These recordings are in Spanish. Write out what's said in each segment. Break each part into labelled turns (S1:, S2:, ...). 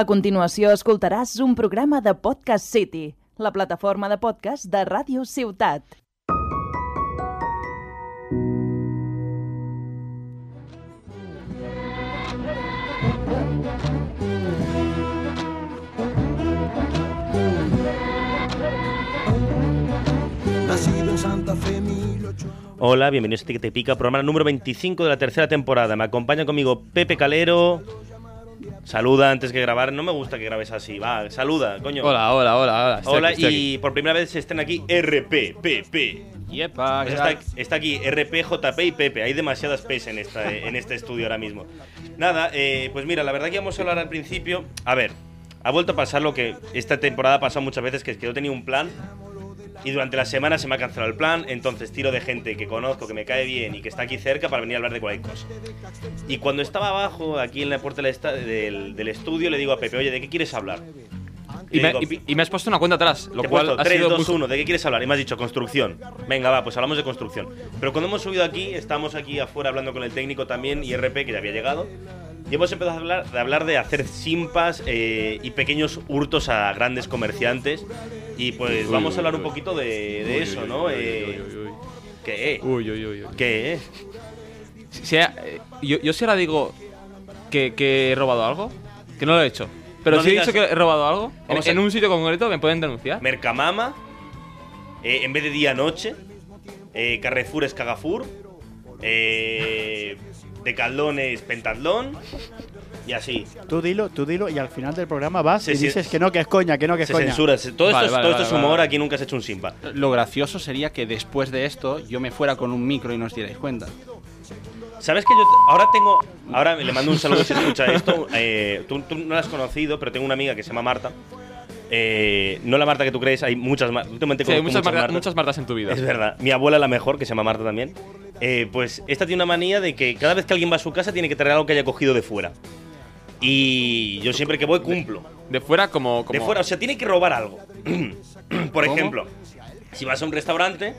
S1: A continuació escoltaràs un programa de Podcast City, la plataforma de podcast de Ràdio Ciutat.
S2: Nacido en Santa Fe, 1800.
S3: Hola, bienvenidos a Este que te pica, programa número 25 de la tercera temporada. Me acompaña conmigo Pepe Calero. Saluda antes que grabar, no me gusta que grabes así. Va, saluda, coño.
S4: Hola, hola, hola, hola. Estoy
S3: Hola,
S4: aquí, estoy
S3: y por primera vez se están aquí RPPP.
S4: aquí. Yepa,
S3: Pues
S4: ¿qué
S3: está,
S4: tal?
S3: está aquí RP, JP y Pepe. Hay demasiadas P's en, esta, eh, en este estudio ahora mismo. Nada, eh, pues mira, la verdad que íbamos a hablar al principio. A ver, ha vuelto a pasar lo que esta temporada ha pasado muchas veces, que es que yo tenía un plan y durante la semana se me ha cancelado el plan. Entonces tiro de gente que conozco, que me cae bien y que está aquí cerca para venir a hablar de cualquier cosa. Y cuando estaba abajo, aquí en la puerta del, esta- del- del estudio, le digo a Pepe, oye, ¿de qué quieres hablar?
S4: Y,
S3: Le
S4: me,
S3: digo,
S4: y- y me has puesto una cuenta atrás, lo
S3: te he
S4: cual
S3: puesto
S4: ha
S3: 3,
S4: sido
S3: 2,
S4: muy-
S3: 1, ¿de qué quieres hablar? Y me has dicho construcción. Venga, va, pues hablamos de construcción. Pero cuando hemos subido aquí, estábamos aquí afuera hablando con el técnico también y RP, que ya había llegado. Y hemos empezado a hablar de, hablar de hacer simpas eh, y pequeños hurtos a grandes comerciantes. Y pues
S4: Uy,
S3: vamos
S4: uy,
S3: a hablar
S4: uy.
S3: un poquito de, de
S4: Uy,
S3: eso,
S4: uy,
S3: ¿no?
S4: uy,
S3: Eh,
S4: uy, uy, uy.
S3: ¿Qué? eh?
S4: Uy, uy, uy, uy.
S3: ¿Qué? eh?
S4: Si- si ha- eh, yo, yo si ahora digo que, que he robado algo, que no lo he hecho, pero
S3: No
S4: si he
S3: digas-
S4: dicho que he robado algo, en,
S3: Vamos a-
S4: en un sitio concreto me pueden denunciar.
S3: Mercamama, eh, en vez de día-noche, eh, Carrefour es Cagafur, eh, Decathlon es Pentatlón y así.
S5: Tú dilo, tú dilo y al final del programa vas
S3: Sí,
S5: y
S3: sí.
S5: dices que no, que es coña, que no, que es
S3: se
S5: coña.
S3: censura. se- Todo, esto,
S4: Vale,
S3: es-
S4: vale,
S3: todo
S4: vale,
S3: esto es humor,
S4: vale.
S3: aquí nunca se ha hecho un simpa.
S6: Lo gracioso sería que después de esto yo me fuera con un micro y no os dierais cuenta.
S3: ¿Sabes que yo t- ahora tengo. Ahora le mando un saludo si escucha esto. eh, tú, tú no la has conocido, pero tengo una amiga que se llama Marta. Eh, no la Marta que tú crees, hay muchas Martas. Últimamente
S4: Sí, hay
S3: conozco
S4: muchas, marca-
S3: Martas.
S4: muchas martas en tu vida.
S3: Es verdad. Mi abuela la mejor, que se llama Marta también. Eh, pues esta tiene una manía de que cada vez que alguien va a su casa tiene que traer algo que haya cogido de fuera. Y yo siempre que voy cumplo.
S4: De fuera como... como
S3: De fuera, o sea, tiene que robar algo. Por ejemplo, si vas a un restaurante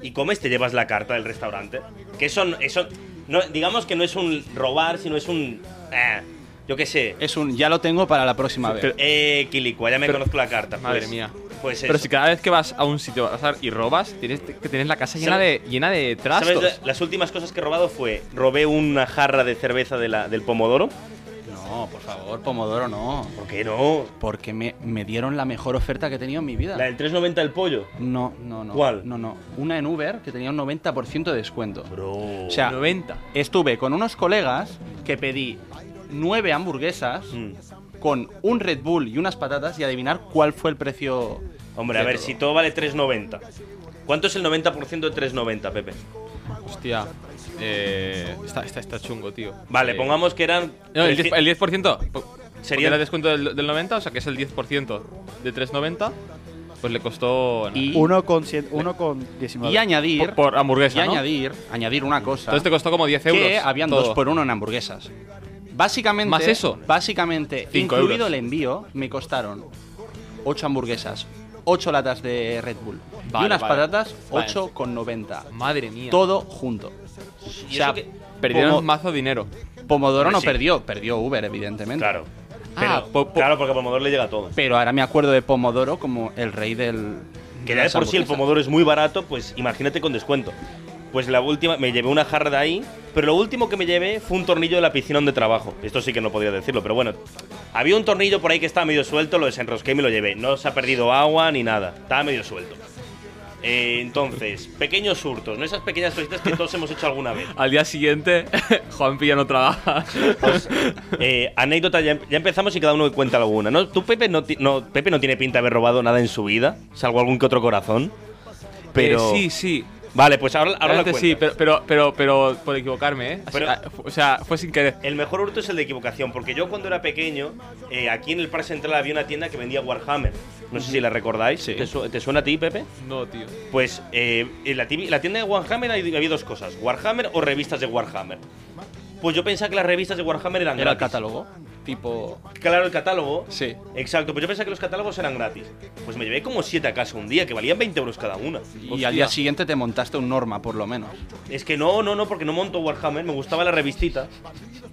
S3: y comes, te llevas la carta del restaurante. Que eso, no- eso no, digamos que no es un robar, sino es un... eh, yo qué sé.
S6: Es un ya lo tengo para la próxima vez.
S4: Pero-
S3: Eh, Quilicua, ya me
S4: Pero-
S3: conozco la carta.
S4: Madre
S3: pues-
S4: mía.
S3: Pues
S4: Pero
S3: eso.
S4: si cada vez que vas a un sitio vas a- y robas, tienes que tienes la casa llena de,
S3: ¿Sabes-
S4: llena de
S3: ¿Sabes?
S4: trastos.
S3: La- Las últimas cosas que he robado fue, robé una jarra de cerveza de la, del Pomodoro.
S6: No, por favor, Pomodoro no.
S3: ¿Por qué no?
S6: Porque me, me dieron la mejor oferta que he tenido en mi vida.
S3: La del 3.90 del pollo.
S6: No, no, no.
S3: ¿Cuál?
S6: No, no. Una en Uber que tenía un 90% de descuento.
S3: Bro.
S6: O sea,
S4: 90.
S6: estuve con unos colegas que pedí nueve hamburguesas
S3: Mm.
S6: con un Red Bull y unas patatas y adivinar cuál fue el precio.
S3: Hombre, a
S6: de
S3: ver,
S6: todo.
S3: si todo vale 3.90. ¿Cuánto es el 90% de 3.90, Pepe?
S4: Hostia. Eh, está, está, está chungo, tío.
S3: Vale,
S4: Eh,
S3: pongamos que eran.
S4: No, el 10%,
S3: treci-
S4: el 10% po-
S3: Sería-
S4: porque era descuento del, del 90, o sea que es el 10% de 3,90, pues le costó nada,
S6: Y,
S5: Uno con, cien- uno con 19.
S6: y añadir.
S4: por, por hamburguesa,
S6: y
S4: ¿no?
S6: añadir, añadir una cosa.
S4: Entonces te costó como 10 euros.
S6: que habían
S4: todo.
S6: dos por uno en hamburguesas. Básicamente,
S4: ¿Más eso?
S6: Básicamente,
S4: Cinco
S6: incluido
S4: euros.
S6: el envío, me costaron ocho hamburguesas, ocho latas de Red Bull
S4: Vale,
S6: y unas
S4: vale.
S6: patatas
S4: Vale.
S6: 8,90.
S4: Madre mía.
S6: Todo junto.
S3: y
S6: O sea,
S3: eso que-
S4: Perdieron
S6: Pomo-
S4: mazo dinero.
S6: Pomodoro no
S3: Sí.
S6: perdió, perdió Uber, evidentemente.
S3: Claro.
S4: Ah,
S3: Pero-
S4: po- po-
S3: claro, porque al Pomodoro le llega todo.
S6: Pero ahora me acuerdo de Pomodoro como el rey del.
S3: Que ya de
S6: de las
S3: por sí el
S6: hamburguesas.
S3: Pomodoro es muy barato, pues imagínate con descuento. Pues la última, me llevé una jarra de ahí, pero lo último que me llevé fue un tornillo de la piscina donde trabajo. Esto sí que no podía decirlo, pero bueno. Había un tornillo por ahí que estaba medio suelto, lo desenrosqué y me lo llevé. No se ha perdido agua ni nada, estaba medio suelto. Eh, entonces, pequeños hurtos, ¿no? Esas pequeñas cositas que todos hemos hecho alguna vez.
S4: Al día siguiente, Juanpi ya no trabaja.
S3: Pues, eh, anécdota, ya, ya empezamos y cada uno cuenta alguna. ¿no? Tú, Pepe no, ti- no, Pepe no tiene pinta de haber robado nada en su vida, salvo algún que otro corazón. Pero.
S4: Eh, sí, sí.
S3: Vale, pues ahora, ahora lo
S4: Realmente sí,
S3: cuentas.
S4: pero, pero, pero, pero por equivocarme, ¿eh? Así-
S3: Pero-
S4: ah, fu- o sea, fue sin querer.
S3: El mejor hurto es el de equivocación, porque yo cuando era pequeño, eh, aquí en el Parque Central había una tienda que vendía Warhammer. No sé si la recordáis. ¿Te, su- te suena a ti, Pepe?
S4: No, tío.
S3: Pues eh, en la, tibi- la tienda de Warhammer hay- había dos cosas: Warhammer o revistas de Warhammer. Pues yo pensaba que las revistas de Warhammer eran
S6: Era el
S3: gratis.
S6: catálogo. tipo.
S3: Claro, el catálogo.
S6: Sí.
S3: Exacto, pues yo pensaba que los catálogos eran gratis. Pues me llevé como siete a casa un día, que valían 20 euros cada una.
S6: Y al
S3: Hostia.
S6: día siguiente te montaste un norma, por lo menos.
S3: Es que no, no, no, porque no monto Warhammer, me gustaba la revistita.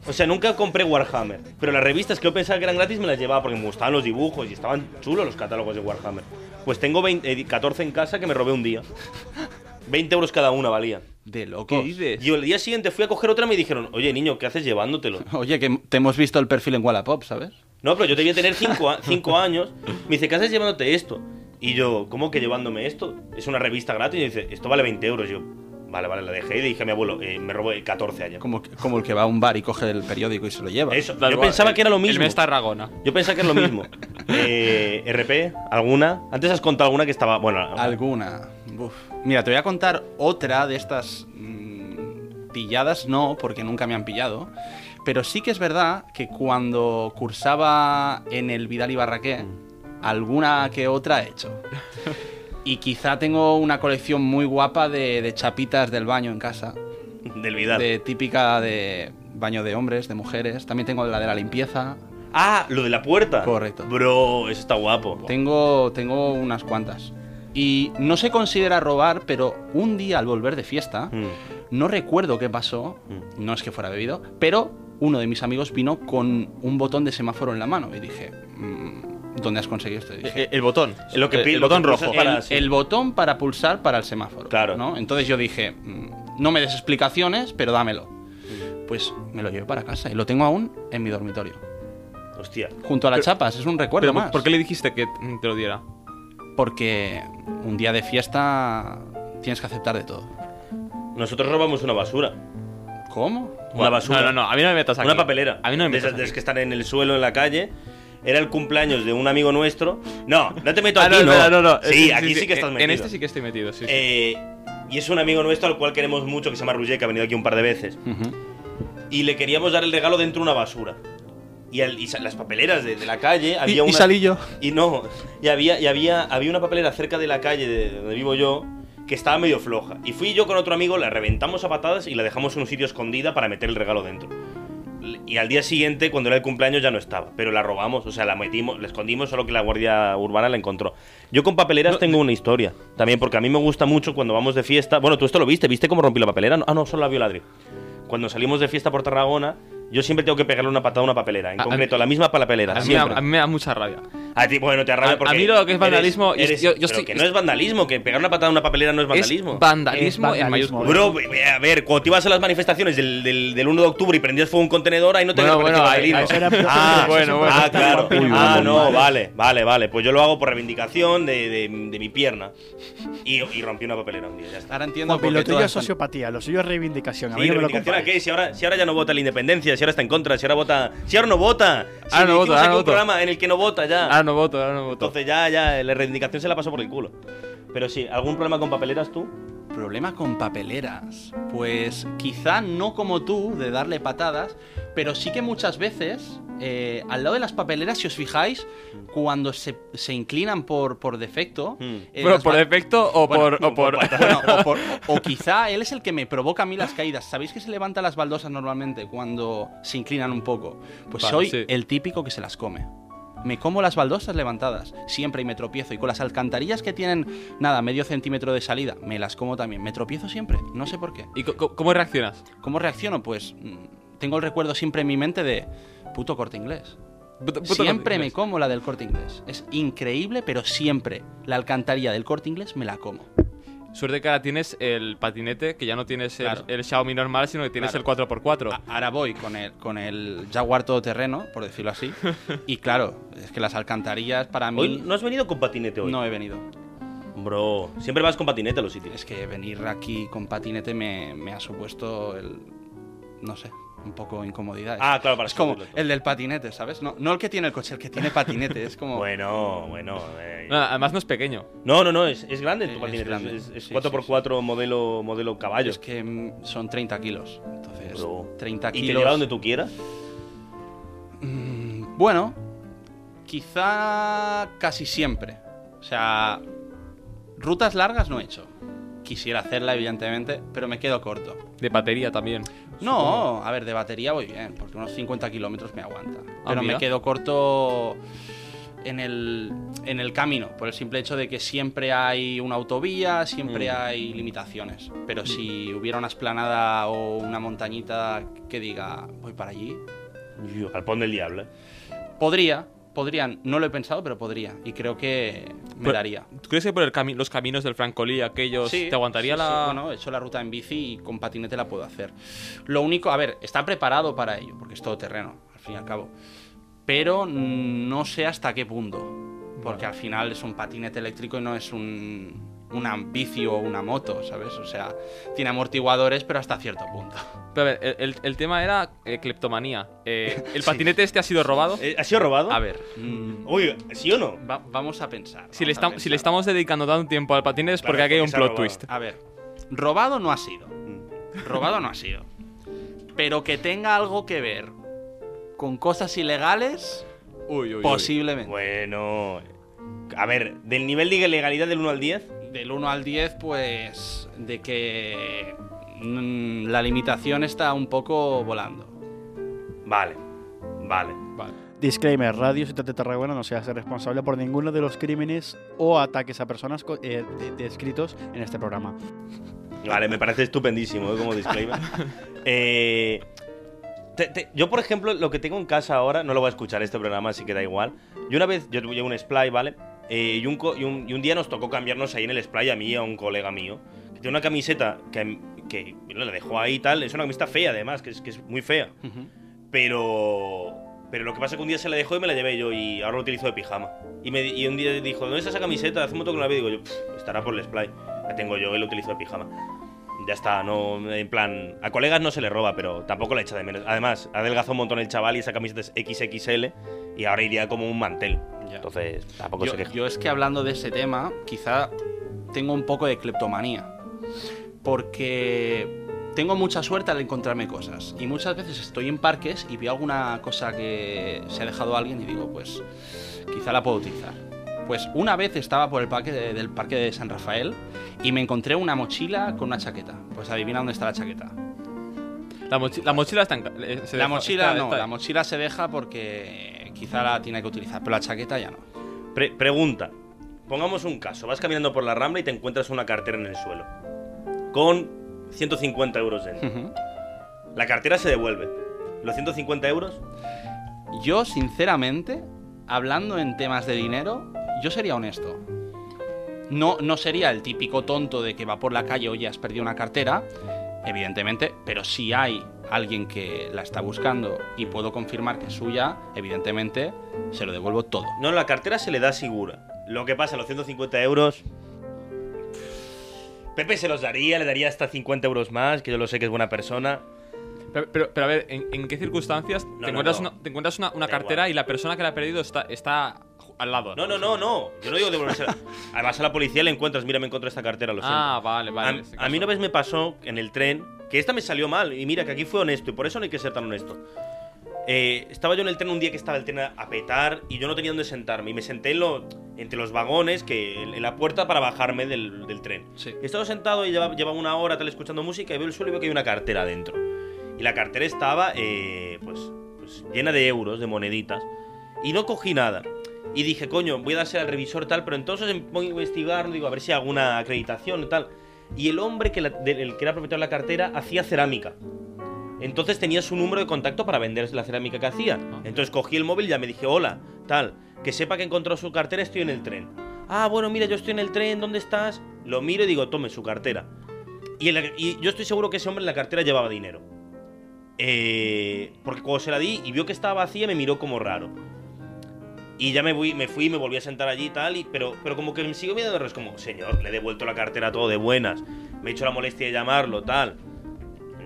S3: O sea, nunca compré Warhammer, pero las revistas que yo pensaba que eran gratis me las llevaba porque me gustaban los dibujos y estaban chulos los catálogos de Warhammer. Pues tengo 20, eh, 14 en casa que me robé un día. 20 euros cada una valía.
S6: De loco.
S4: ¿Qué dices?
S3: Y el día siguiente fui a coger otra y me dijeron, oye niño, ¿qué haces llevándotelo?
S6: Oye, que te hemos visto el perfil en Wallapop, ¿sabes?
S3: No, pero yo debía tener 5 años. Me dice, ¿qué haces llevándote esto? Y yo, ¿cómo que llevándome esto? Es una revista gratis. Y dice, esto vale 20 euros. yo, vale, vale, la dejé y le dije a mi abuelo, eh, me robé 14 años.
S6: Como, como el que va a un bar y coge el periódico y se lo lleva.
S3: Eso,
S4: Da
S3: yo
S4: igual,
S3: pensaba
S4: el-
S3: que era lo
S4: El
S3: mismo.
S4: mes Tarragona.
S3: Yo pensaba que era lo mismo. Eh, RP, ¿alguna? Antes has contado alguna que estaba. Bueno,
S6: Alguna. Uf. Mira, te voy a contar otra de estas mm, pilladas, no, porque nunca me han pillado. Pero sí que es verdad que cuando cursaba en el Vidal y Barraqué,
S4: Mm.
S6: alguna que otra he hecho. Y quizá tengo una colección muy guapa de, de chapitas del baño en casa.
S3: del Vidal.
S6: De típica de baño de hombres, de mujeres. También tengo la de la limpieza.
S3: Ah, lo de la puerta.
S6: Correcto.
S3: Bro, eso está guapo.
S6: Tengo, tengo unas cuantas. Y no se considera robar, pero un día al volver de fiesta,
S3: Mm.
S6: no recuerdo qué pasó,
S3: Mm.
S6: no es que fuera bebido, pero uno de mis amigos vino con un botón de semáforo en la mano y dije, "Mm, ¿dónde has conseguido esto? Y dije,
S4: El, el botón.
S3: Lo que
S4: el,
S3: pi-
S4: el
S3: lo que
S4: botón
S3: pulsas
S4: rojo.
S3: Eh, para-
S6: el,
S3: sí.
S6: el botón para pulsar para el semáforo.
S3: Claro.
S6: ¿no? Entonces yo dije, "Mm, no me des explicaciones, pero dámelo.
S3: Mm.
S6: Pues me lo llevé para casa y lo tengo aún en mi dormitorio.
S3: Hostia.
S6: Junto a las chapas, es un recuerdo
S4: Pero,
S6: más.
S4: ¿Por qué le dijiste que te lo diera?
S6: Porque un día de fiesta tienes que aceptar de todo.
S3: Nosotros robamos una basura.
S6: ¿Cómo?
S3: Una basura.
S4: No, no, no. A mí no me metas aquí.
S3: Una papelera.
S4: A mí no
S3: De
S4: me metas
S3: esas de
S4: aquí.
S3: esas que están en el suelo, en la calle. Era el cumpleaños de un amigo nuestro. No, no te meto
S4: Ah,
S3: aquí,
S4: no,
S3: no.
S4: espera, no, no.
S3: Sí, aquí sí, que estás
S4: en-
S3: metido.
S4: En este sí que estoy metido, sí. sí.
S3: Eh, y es un amigo nuestro al cual queremos mucho, que se llama Ruger, que ha venido aquí un par de veces. Y le queríamos dar el regalo dentro de una basura. Y, al- y sa- las papeleras de, de la calle había
S6: y
S3: una-
S6: salí yo.
S3: Y no, y había, y había, había una papelera cerca de la calle de donde vivo yo que estaba medio floja. Y fui yo con otro amigo, la reventamos a patadas y la dejamos en un sitio escondida para meter el regalo dentro. Y al día siguiente, cuando era el cumpleaños, ya no estaba. Pero la robamos, o sea, la metimos, la escondimos, solo que la guardia urbana la encontró. Yo con papeleras tengo una historia. También porque a mí me gusta mucho cuando vamos de fiesta. Bueno, tú esto lo viste, ¿viste cómo rompí la papelera? No, ah, no, solo la vio Ladri. Cuando salimos de fiesta por Tarragona, yo siempre tengo que pegarle una patada a una papelera. En
S4: A- a mí-
S3: concreto, la misma papelera.
S4: a, mí, me-
S3: siempre.
S4: a mí me da mucha rabia.
S3: A ti, bueno, te arrabia
S4: A- a
S3: porque.
S4: mí lo que es vandalismo, yo-
S3: Eres, eres-
S4: yo- yo
S3: pero
S4: estoy-
S3: que no es vandalismo, que pegar una patada a una papelera no es vandalismo.
S4: Es vandalismo,
S5: Es
S4: en
S5: vandalismo.
S4: mayúsculas.
S3: Bro, ve- ve- a ver, cuando te ibas a las manifestaciones del, del, del 1 de octubre y prendías fuego a un contenedor, ahí no te
S4: Bueno,
S3: parece
S4: bueno, ahí-
S3: vandalismo.
S4: ahí
S5: era- pero-
S3: ah,
S5: pero-
S4: bueno, bueno.
S3: ah, claro.
S5: Uy,
S3: ah,
S5: vale,
S3: no,
S5: vale.
S3: vale, vale, vale. Pues yo lo hago por reivindicación de, de- de mi pierna. Y, y rompí una papelera un día, ya está.
S6: Ahora entiendo
S5: Juanpi,
S6: por qué
S5: lo tuyo
S6: todas
S5: es
S6: están-
S5: sociopatía, lo suyo es reivindicación. A
S3: Sí,
S5: mí no me lo
S3: reivindicación a
S5: compares.
S3: qué? Si ahora, si ahora ya no vota la independencia, si ahora está en contra, si ahora vota. Si ahora no vota. Si
S4: Ahora no
S3: hicimos
S4: voto, ahora
S3: aquí
S4: no
S3: un
S4: voto.
S3: programa en el que no vota ya.
S6: eh.
S4: Ahora Ah, no voto, ahora no voto.
S3: Entonces ya, ya, la reivindicación se la pasó por el culo. Pero sí, ¿algún problema con papeleras tú?
S6: Problema con papeleras. Pues quizá no como tú, de darle patadas, pero sí que muchas veces, eh, al lado de las papeleras, si os fijáis, cuando se, se inclinan por, por defecto.
S3: Mm.
S6: eh,
S4: Pero
S6: las
S4: por
S6: ba-
S4: defecto o
S6: Bueno,
S4: por. o por-
S6: bueno, o, por- o quizá él es el que me provoca a mí las caídas. ¿Sabéis que se levanta las baldosas normalmente cuando se inclinan un poco? Pues
S4: Vale,
S6: soy
S4: sí.
S6: el típico que se las come. Me como las baldosas levantadas, siempre y me tropiezo. Y con las alcantarillas que tienen, nada, medio centímetro de salida, me las como también. Me tropiezo siempre, no sé por qué.
S4: ¿Y co- co- cómo reaccionas?
S6: ¿Cómo reacciono? Pues mm, tengo el recuerdo siempre en mi mente de puto corte inglés.
S4: Puto- puto
S6: siempre me
S4: corte
S6: como la del corte inglés. Es increíble, pero siempre la alcantarilla del corte inglés me la como.
S4: inglés. Suerte que ahora tienes el patinete, que ya no tienes el,
S6: Claro.
S4: el Xiaomi normal, sino que tienes
S6: Claro.
S4: el 4x4.
S3: Ah,
S6: A- Ahora voy con el, con el Jaguar todoterreno, por decirlo así. Y claro, es que las alcantarillas para mí
S3: Hoy no has venido con patinete hoy.
S6: no he venido.
S3: Bro, siempre vas con patinete a los sitios.
S6: Es que venir aquí con patinete me, me ha supuesto el. No sé, un poco incomodidad.
S3: Ah, claro, para
S6: es como
S3: subirlo todo.
S6: el del patinete, ¿sabes? No, no el que tiene el coche, el que tiene patinete. Es como. Ah.
S3: Bueno, bueno. eh.
S4: No, además no es pequeño.
S3: No, no, no, es, es grande
S6: Es
S3: tu patinete.
S6: grande,
S3: Es, es
S6: sí,
S3: 4x4 modelo, modelo caballo.
S6: Es que mm, son 30 kilos. Entonces,
S3: Bro.
S6: 30
S3: y
S6: kilos.
S3: te lleva donde tú quieras.
S6: Mm, Bueno, quizá casi siempre. O sea, rutas largas no he hecho. Quisiera hacerla, evidentemente, pero me quedo corto.
S4: De batería también.
S6: No, a ver, de batería voy bien, porque unos 50 kilómetros me aguanta.
S4: Ah,
S6: Pero
S4: mira.
S6: me quedo corto en el, en el camino, por el simple hecho de que siempre hay una autovía, siempre
S3: Mm.
S6: hay limitaciones. Pero si hubiera una esplanada o una montañita que diga, voy para allí,
S3: Yo, Al pon del diablo. ¿eh?
S6: podría, podrían, no lo he pensado, pero podría. Y creo que me
S4: Pero-
S6: daría.
S4: ¿Tú crees que por el cami- los caminos del Francolí, aquellos,
S6: Sí,
S4: te aguantaría
S6: sí,
S4: la.
S6: sí. Bueno, he hecho la ruta en bici y con patinete la puedo hacer. Lo único, a ver, está preparado para ello, porque es todo terreno, al fin y al cabo. Pero no sé hasta qué punto. Porque al final es un patinete eléctrico y no es un una bici o una moto, ¿sabes? O sea, tiene amortiguadores, pero hasta cierto punto.
S4: Pero a ver, el, el- el tema era eh, cleptomanía. Eh, ¿El
S6: Sí.
S4: patinete este ha sido robado?
S3: Eh, ¿Ha sido robado?
S4: A ver,
S6: Mm,
S3: Oye, ¿sí o no?
S6: va- vamos a pensar.
S4: si le,
S6: vamos a
S4: estam- si le
S6: pensar.
S4: estamos dedicando tanto tiempo al patinete es
S3: Claro,
S4: porque aquí hay un
S3: porque se ha
S4: plot
S3: robado.
S4: twist.
S6: A ver, robado no ha sido. Robado no ha sido. Pero que tenga algo que ver con cosas ilegales,
S4: Uy, uy, uy.
S6: posiblemente.
S3: Bueno. A ver, del nivel de ilegalidad del 1 al 10.
S6: Del 1 al 10, pues de que mm, la limitación está un poco volando.
S3: Vale. Vale.
S5: Disclaimer, Radio Ciudad de Tarragona no se hace responsable por ninguno de los crímenes o ataques a personas co- eh, de- descritos en este programa.
S3: Vale, me parece estupendísimo, ¿eh? como disclaimer. Eh, te- te- yo, por ejemplo, lo que tengo en casa ahora, no lo voy a escuchar este programa, así que da igual. Yo una vez, yo tuve un splay, ¿vale? Eh, y, un co- y un- y un día nos tocó cambiarnos ahí en el splay a mí y a un colega mío. Que tiene una camiseta que, que bueno, la dejó ahí y tal. Es una camiseta fea, además, que es, que es muy fea. Pero. Pero lo que pasa es que un día se la dejó y me la llevé yo y ahora lo utilizo de pijama. Y, me, di- y un día dijo, ¿dónde está esa camiseta? Hace un montón que no la veo. Digo yo, "Pff, estará por el splay. La tengo yo y la utilizo de pijama. Ya está, no, en plan, a colegas no se le roba, pero tampoco la echa de menos. Además, adelgazó un montón el chaval y esa camiseta es XXL y ahora iría como un mantel.
S6: Ya.
S3: Entonces, tampoco
S6: Yo,
S3: se queja.
S6: yo es que hablando de ese tema, quizá tengo un poco de cleptomanía. Porque tengo mucha suerte al encontrarme cosas. Y muchas veces estoy en parques y veo alguna cosa que se ha dejado alguien y digo, pues quizá la puedo utilizar. Pues una vez estaba por el parque de- del parque de San Rafael y me encontré una mochila con una chaqueta. Pues adivina dónde está la chaqueta.
S4: La, mochi- la mochila está en. ca- eh, se
S6: La
S4: dejó-
S6: mochila
S4: está-
S6: no,
S4: está-
S6: la mochila se deja porque quizá la tiene que utilizar, pero la chaqueta ya no.
S3: Pre- pregunta, pongamos un caso, vas caminando por la rambla y te encuentras una cartera en el suelo, con 150 euros dentro.
S6: Ujú.
S3: La cartera se devuelve. ¿Los 150 euros?
S6: Yo, sinceramente, hablando en temas de dinero, yo sería honesto. No, no sería el típico tonto de que va por la calle, oye, has perdido una cartera, evidentemente, pero si hay alguien que la está buscando y puedo confirmar que es suya, evidentemente, se lo devuelvo todo.
S3: No, la cartera se le da segura. Lo que pasa, los 150 euros. Pepe se los daría, le daría hasta 50 euros más, que yo lo sé que es buena persona.
S4: Pero, pero- pero a ver, ¿en, en qué circunstancias
S3: no,
S4: te, encuentras
S3: no.
S4: Una, te encuentras una, una
S3: Da
S4: cartera
S3: igual.
S4: y la persona que la ha perdido está, está ju- al lado?
S3: No, no, no, no. Yo no digo devolvérsela. Además, a la policía le encuentras, mira, me encontré esta cartera, lo siento.
S4: Ah, vale, vale.
S3: A-
S4: en este
S3: a, mí
S4: caso.
S3: una vez me pasó en el tren que esta me salió mal. Y mira, que aquí fue honesto. Y por eso no hay que ser tan honesto. Eh, estaba yo en el tren un día que estaba el tren a- a petar y yo no tenía dónde sentarme. Y me senté en lo- entre los vagones, que en la puerta para bajarme del, del tren.
S6: Sí.
S3: He estado sentado y lleva- llevaba una hora tal escuchando música y veo el suelo y veo que hay una cartera dentro. Y la cartera estaba eh, pues, pues, llena de euros, de moneditas. Y no cogí nada. Y dije, coño, voy a darse al revisor tal, pero entonces me pongo a investigar, digo, a ver si hay alguna acreditación y tal. Y el hombre que, la- del- el que era propietario de la cartera hacía cerámica. Entonces tenía su número de contacto para vender la cerámica que hacía. Entonces cogí el móvil y ya me dije, hola, tal, que sepa que encontró su cartera, estoy en el tren. Ah, bueno, mira, yo estoy en el tren, ¿dónde estás? Lo miro y digo, tome su cartera. Y, el- y yo estoy seguro que ese hombre en la cartera llevaba dinero. Eh, porque cuando se la di y vio que estaba vacía, me miró como raro. Y ya me fui, me fui, me volví a sentar allí y tal, y, pero, pero como que me sigo mirando, es como, señor, le he devuelto la cartera todo de buenas, me he hecho la molestia de llamarlo, tal.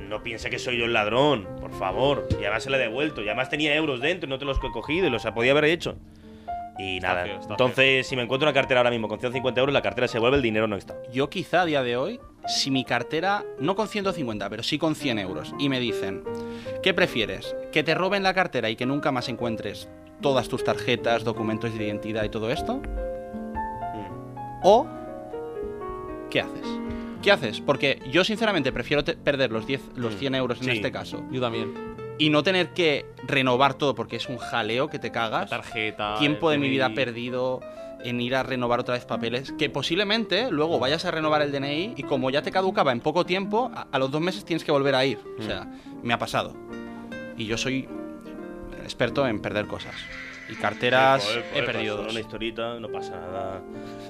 S3: No piense que soy yo el ladrón, por favor. Y además se la he devuelto. Y además tenía euros dentro, y no te los he cogido y los podía haber hecho. Y
S4: Está
S3: nada.
S4: feo, está
S3: Entonces, si me encuentro una cartera ahora mismo con 150 euros, la cartera se vuelve, el dinero no está.
S6: Yo quizá a día de hoy, si mi cartera, no con 150, pero sí con 100 euros, y me dicen, ¿qué prefieres? ¿Que te roben la cartera y que nunca más encuentres todas tus tarjetas, documentos de identidad y todo esto? ¿O qué haces? ¿Qué haces? Porque yo sinceramente prefiero te- perder los 10,
S4: Mm.
S6: los 100 euros en
S3: Sí.
S6: este caso
S4: Yo también.
S6: y no tener que renovar todo porque es un jaleo que te
S4: La
S6: cagas.
S4: tarjeta.
S6: Tiempo de
S4: el
S6: mi vida
S4: DNI.
S6: perdido en ir a renovar otra vez papeles que posiblemente luego vayas a renovar el DNI y como ya te caducaba en poco tiempo, a, a los dos meses tienes que volver a ir. O sea,
S3: Mm.
S6: me ha pasado. Y yo soy experto en perder cosas. Y carteras
S3: Joder, joder,
S6: he perdido
S3: pasó
S6: dos.
S3: Una historita, no pasa nada.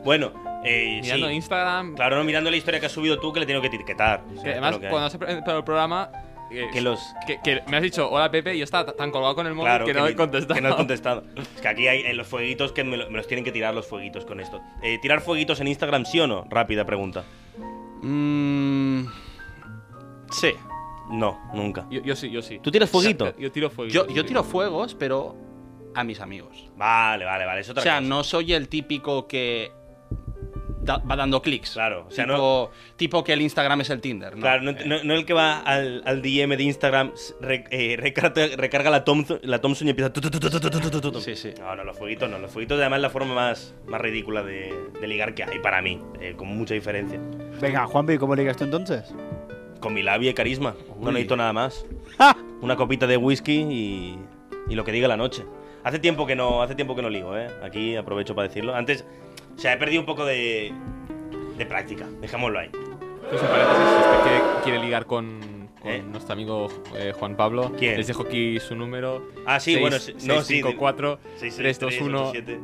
S3: Bueno, eh,
S4: Mirando
S3: sí.
S4: Instagram.
S3: Claro, no mirando la historia que has subido tú, que le tengo que etiquetar. O sea,
S4: que
S3: es
S4: además,
S3: lo que hay.
S4: cuando has presentado el programa. eh,
S3: Que los-
S4: Que, que me has dicho, hola Pepe, y yo estaba t- tan colgado con el móvil
S3: Claro,
S4: que, no
S3: ni-
S4: he contestado.
S3: que no has contestado. Es que aquí hay eh, los fueguitos que me, lo- me los tienen que tirar los fueguitos con esto. Eh, ¿Tirar fueguitos en Instagram sí o no? Rápida pregunta.
S6: Mm, sí.
S3: No, nunca.
S4: Yo, yo sí, yo sí.
S3: ¿Tú tiras fueguito?
S4: Yo tiro fueguito.
S6: Yo, yo
S4: sí.
S6: tiro fuegos, pero a mis amigos.
S3: Vale, vale, vale. Es otra
S6: o sea,
S3: cosa.
S6: no soy el típico que da- va dando clics.
S3: Claro, o sea,
S6: tipo, tipo que el Instagram es el Tinder. ¿no?
S3: Claro, no,
S6: Eh,
S3: no- no el que va al, al DM de Instagram, s- re- eh, recarga, recarga la, Thompson, la Thompson y empieza. tu, tu, tu, tu, tu, tu, tu, tu, tu, tu.
S6: Sí, sí.
S3: No, no, los fueguitos no. Los fueguitos, además, es la forma más, más ridícula de, de ligar que hay para mí, eh, con mucha diferencia.
S5: Venga, Juanpi, ¿cómo ligas tú entonces?
S3: Con mi labia y carisma. No
S5: Uy.
S3: necesito nada más. Una copita de whisky y, y lo que diga la noche. Hace tiempo que no, hace tiempo que no ligo, ¿eh? Aquí aprovecho para decirlo. Antes, o sea, he perdido un poco de, de práctica. Dejémoslo ahí.
S4: Pues en paréntesis, si usted quiere, quiere ligar con, con
S3: ¿Eh?
S4: nuestro amigo eh, Juan Pablo,
S3: ¿Quién?
S4: les dejo aquí su número.
S3: Ah, sí, bueno, sí, no, sí,
S4: 4
S3: 6,
S4: 3, 2, 1,
S3: 7,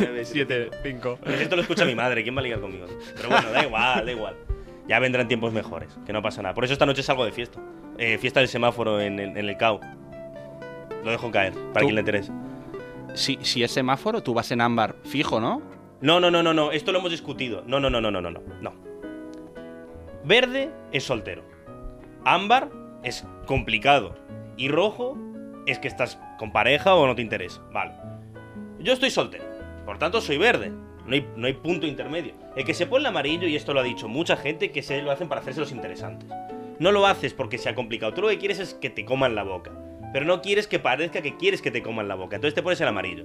S3: 9,
S4: 7, 5.
S3: Esto lo escucha mi madre, ¿quién va a ligar conmigo? Pero bueno, da igual, da igual. Ya vendrán tiempos mejores, que no pasa nada. Por eso esta noche salgo de fiesta. Eh, fiesta del semáforo en el, en el CAO. Lo dejo caer, para
S6: Tú-
S3: quien le interese.
S6: Si, si es semáforo, tú vas en ámbar fijo, ¿no?
S3: No, no, no, no, no, esto lo hemos discutido. No, no, no, no, no, no, no. no. Verde es soltero. Ámbar es complicado. Y rojo es que estás con pareja o no te interesa. Vale. Yo estoy soltero. Por tanto, soy verde. No hay, no hay punto intermedio. El que se pone el amarillo, y esto lo ha dicho mucha gente, que se lo hacen para hacerse los interesantes. No lo haces porque sea complicado. Tú lo que quieres es que te coman la boca. Pero no quieres que parezca que quieres que te coman la boca. Entonces te pones el amarillo.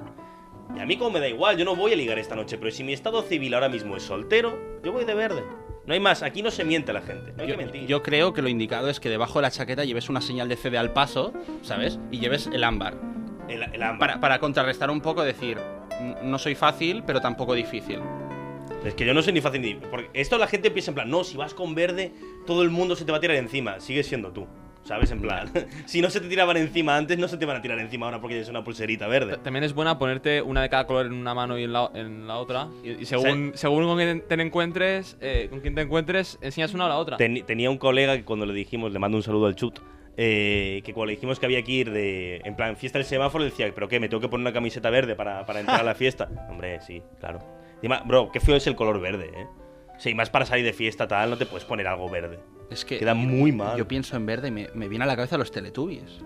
S3: Y a mí como me da igual, yo no voy a ligar esta noche, pero si mi estado civil ahora mismo es soltero, yo voy de verde. No hay más, aquí no se miente la gente, no hay
S6: Yo,
S3: que mentir.
S6: yo creo que lo indicado es que debajo de la chaqueta lleves una señal de CD al paso, ¿sabes? Y lleves el ámbar.
S3: el, el ámbar.
S6: Para, para contrarrestar un poco, decir, "N- no soy fácil, pero tampoco difícil.
S3: Es que yo no soy ni fácil ni... Porque esto la gente piensa en plan, no, si vas con verde, todo el mundo se te va a tirar encima, sigues siendo tú. ¿Sabes? En plan, si no se te tiraban encima antes, no se te van a tirar encima ahora porque tienes una pulserita verde.
S4: También es buena ponerte una de cada color en una mano y en la, en la otra. Y, y según, según con quién te encuentres, eh, con quién te encuentres, enseñas una o la otra.
S3: Ten- tenía un colega que cuando le dijimos, le mando un saludo al Chut, eh, que cuando le dijimos que había que ir de, en plan, fiesta del semáforo, decía, ¿pero qué? ¿Me tengo que poner una camiseta verde para, para entrar a la fiesta? Hombre, sí, claro. Encima, bro, qué feo es el color verde, ¿eh? Sí, más para salir de fiesta tal, no te puedes poner algo verde.
S6: Es que
S3: Queda muy mal.
S6: Eh, yo pienso en verde y me, me viene a la cabeza los teletubbies.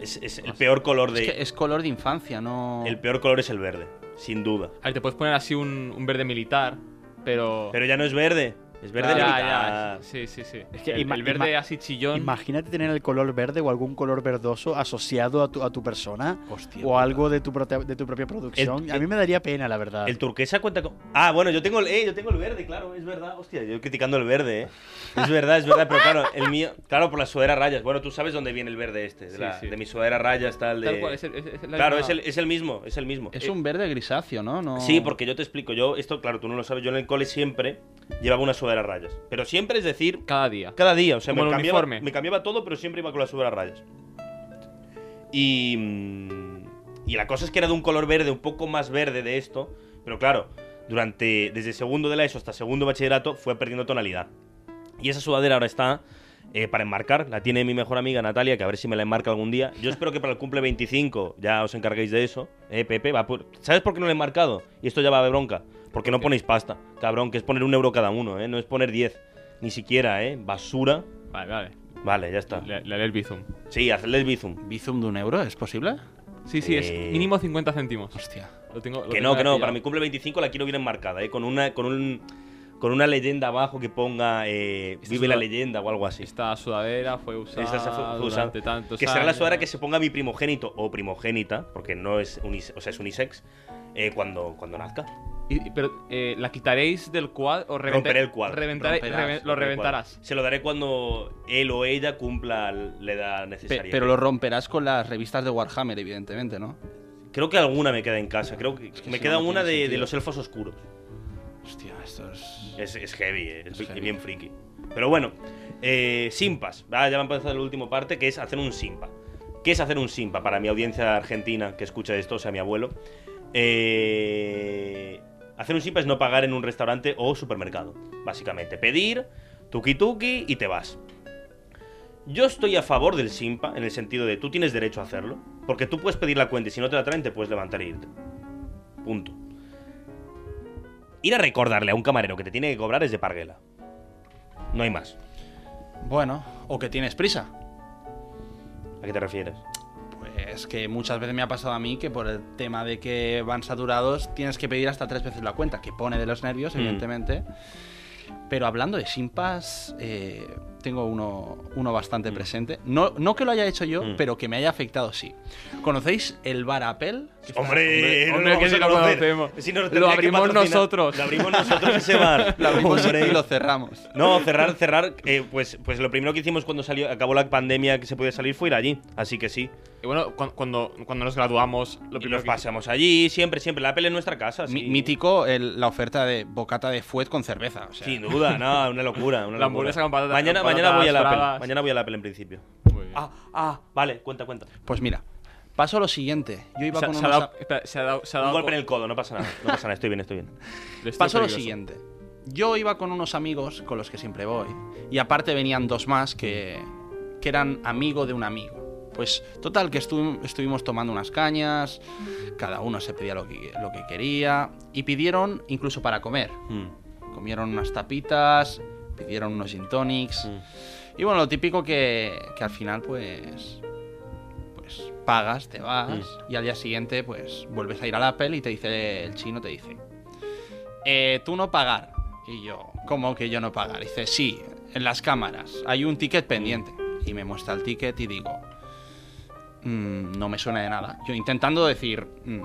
S3: Es, es el peor color de...
S6: Es que es color de infancia, no...
S3: El peor color es el verde, sin duda.
S4: A ver, te puedes poner así un, un verde militar, pero.
S3: Pero ya no es verde, es verde
S4: Ah, ya,
S3: militar.
S4: ya, sí, sí, sí.
S5: Es que
S4: el,
S5: ima-
S4: el verde
S5: ima-
S4: así chillón.
S5: Imagínate tener el color verde o algún color verdoso asociado a tu, a tu persona
S6: Hostia,
S5: o algo de tu, prote- de tu propia producción.
S3: El-
S5: a mí me daría pena, la verdad.
S3: El turquesa cuenta con. Ah, bueno, yo tengo el. Eh, yo tengo el verde, claro, es verdad. Hostia, yo criticando el verde, eh. Es verdad, es verdad, pero claro, el mío. Claro, por la sudadera a rayas. Bueno, tú sabes dónde viene el verde este. De,
S4: Sí,
S3: la-
S4: sí.
S3: de mi sudadera a rayas, tal. De...
S4: Tal cual, es el- es- es la
S3: claro,
S4: misma-
S3: es el, es el mismo, es el mismo. Eh,
S6: Es un verde grisáceo, ¿no? no...
S3: Sí, porque yo te explico. Yo, esto, claro, tú no lo sabes. Yo en el cole siempre llevaba una sudadera a rayas. Pero siempre, es decir,
S4: Cada día.
S3: cada día, o sea,
S4: Como
S3: me
S4: el
S3: cambiaba,
S4: uniforme.
S3: me cambiaba todo, pero siempre iba con la sudadera a rayas. Y, mm, y la cosa es que era de un color verde, un poco más verde de esto, pero claro, durante desde segundo de la ESO hasta segundo de bachillerato fue perdiendo tonalidad. Y esa sudadera ahora está eh, para enmarcar, la tiene mi mejor amiga Natalia, que a ver si me la enmarca algún día. Yo espero que para el cumple 25 ya os encarguéis de eso. Eh, Pepe, va por- ¿sabes por qué no la he enmarcado? Y esto ya va de bronca. Porque no ponéis pasta, cabrón, que es poner un euro cada uno, ¿eh? No es poner 10. Ni siquiera, ¿eh? Basura.
S4: Vale, vale.
S3: Vale, ya está.
S4: Le, le haré el bizum.
S3: Sí, hacedle el bizum.
S6: ¿Bizum de un euro? ¿Es posible?
S4: Sí, sí, es
S3: Eh.
S4: mínimo 50 céntimos.
S6: Hostia.
S4: Lo tengo, lo
S3: Que
S4: tengo
S3: no, que no,
S4: pillado.
S3: para mi cumple 25 la quiero bien enmarcada, ¿eh? Con una, con un, con una leyenda abajo que ponga eh,
S4: Esta
S3: Vive la
S4: sudad-
S3: leyenda o algo así.
S4: Esta sudadera fue usada
S3: Esa se fue- fue usada.
S4: durante tantos
S3: que será la
S4: años.
S3: sudadera que se ponga mi primogénito o primogénita, porque no es unisex, o sea, es unisex, eh, cuando, cuando nazca.
S4: Y- y- pero eh, la quitaréis del cuadro o reventa-
S3: Romperé el cuadro.
S4: reventaré-
S6: Romperás,
S4: reven- lo
S3: Romperé el cuadro.
S4: reventarás.
S3: Se lo daré cuando él o ella cumpla la edad
S6: Pe-
S3: necesaria.
S6: pero lo romperás con las revistas de Warhammer, evidentemente, ¿no?
S3: Creo que alguna me queda en casa. Creo que,
S6: que
S3: me
S6: eso
S3: queda
S6: no
S3: una
S6: tiene
S3: de, de
S6: sentido.
S3: los elfos oscuros.
S6: Hostia, esto es.
S3: Es, es heavy, eh, es,
S6: Es heavy.
S3: bien friki. Pero bueno, eh, simpas. Ah, ya vamos a empezar la última parte, que es hacer un simpa. ¿Qué es hacer un simpa? Para mi audiencia argentina que escucha esto, o sea, mi abuelo. Eh, hacer un simpa es no pagar en un restaurante o supermercado, básicamente. Pedir, tuki tuki y te vas. Yo estoy a favor del simpa en el sentido de tú tienes derecho a hacerlo, porque tú puedes pedir la cuenta y si no te la traen te puedes levantar e irte. Punto. Ir a recordarle a un camarero que te tiene que cobrar es de parguela. No hay más.
S6: Bueno, o que tienes prisa.
S3: ¿A qué te refieres?
S6: Pues que muchas veces me ha pasado a mí que por el tema de que van saturados tienes que pedir hasta tres veces la cuenta, que pone de los nervios,
S3: Mm.
S6: evidentemente. Pero hablando de simpas, eh, tengo uno, uno bastante presente. No, no que lo haya hecho yo,
S3: Mm.
S6: pero que me haya afectado, sí. ¿Conocéis el bar Apple?
S3: Hombre,
S4: hombre,
S3: vamos
S4: que
S3: a
S4: sí lo
S3: conocer.
S4: conocemos.
S3: Si nos
S4: Lo
S3: tendría que
S4: abrimos
S3: patrocinar.
S4: nosotros.
S3: Lo abrimos nosotros ese bar.
S6: Lo abrimos
S3: Hombre.
S6: y lo cerramos.
S3: No, cerrar, cerrar. eh, pues, pues lo primero que hicimos cuando salió, acabó la pandemia que se podía salir fue ir allí. Así que sí.
S4: Y bueno, cu- cuando, cuando nos graduamos, lo
S3: Y
S4: primero
S3: nos
S4: que
S3: pasamos allí, siempre, siempre. La Apple en nuestra casa. Sí.
S6: Mi- Mítico el- la oferta de bocata de fuet con cerveza. o sea,
S3: Sin duda, no, una locura. Una
S4: La hamburguesa
S3: locura.
S4: con patata-
S3: Mañana,
S4: con
S3: mañana voy a la
S4: patatas
S3: Apple.
S4: bravas.
S3: Mañana voy a la Apple en principio.
S4: Muy bien.
S3: Ah, ah, vale, cuenta, cuenta.
S6: Pues mira, pasó lo siguiente. Yo iba
S4: se,
S6: con
S4: se ha
S6: unos
S4: dado,
S6: a-
S4: espera, se ha dado- se ha
S3: Un
S4: dado
S3: golpe
S4: con-
S3: en el codo, no pasa nada. No pasa nada, estoy bien, estoy bien.
S4: le estoy
S6: Pasó lo
S4: peligroso.
S6: siguiente. Yo iba con unos amigos con los que siempre voy. Y aparte venían dos más que, que eran amigo de un amigo. Pues total, que estu- estuvimos tomando unas cañas, cada uno se pedía lo que, lo que quería y pidieron incluso para comer.
S3: Mm,
S6: Comieron unas tapitas, pidieron unos gin tonics.
S3: mm.
S6: Y bueno, lo típico que, que al final pues... Pues pagas, te vas y al día siguiente pues vuelves a ir al Apple y te dice el chino, te dice, eh, tú no pagar. Y yo, ¿cómo que yo no pagar? Dice, sí, en las cámaras, hay un ticket pendiente. Y me muestra el ticket y digo, "Mm, no me suena de nada. Yo intentando decir, "Mm,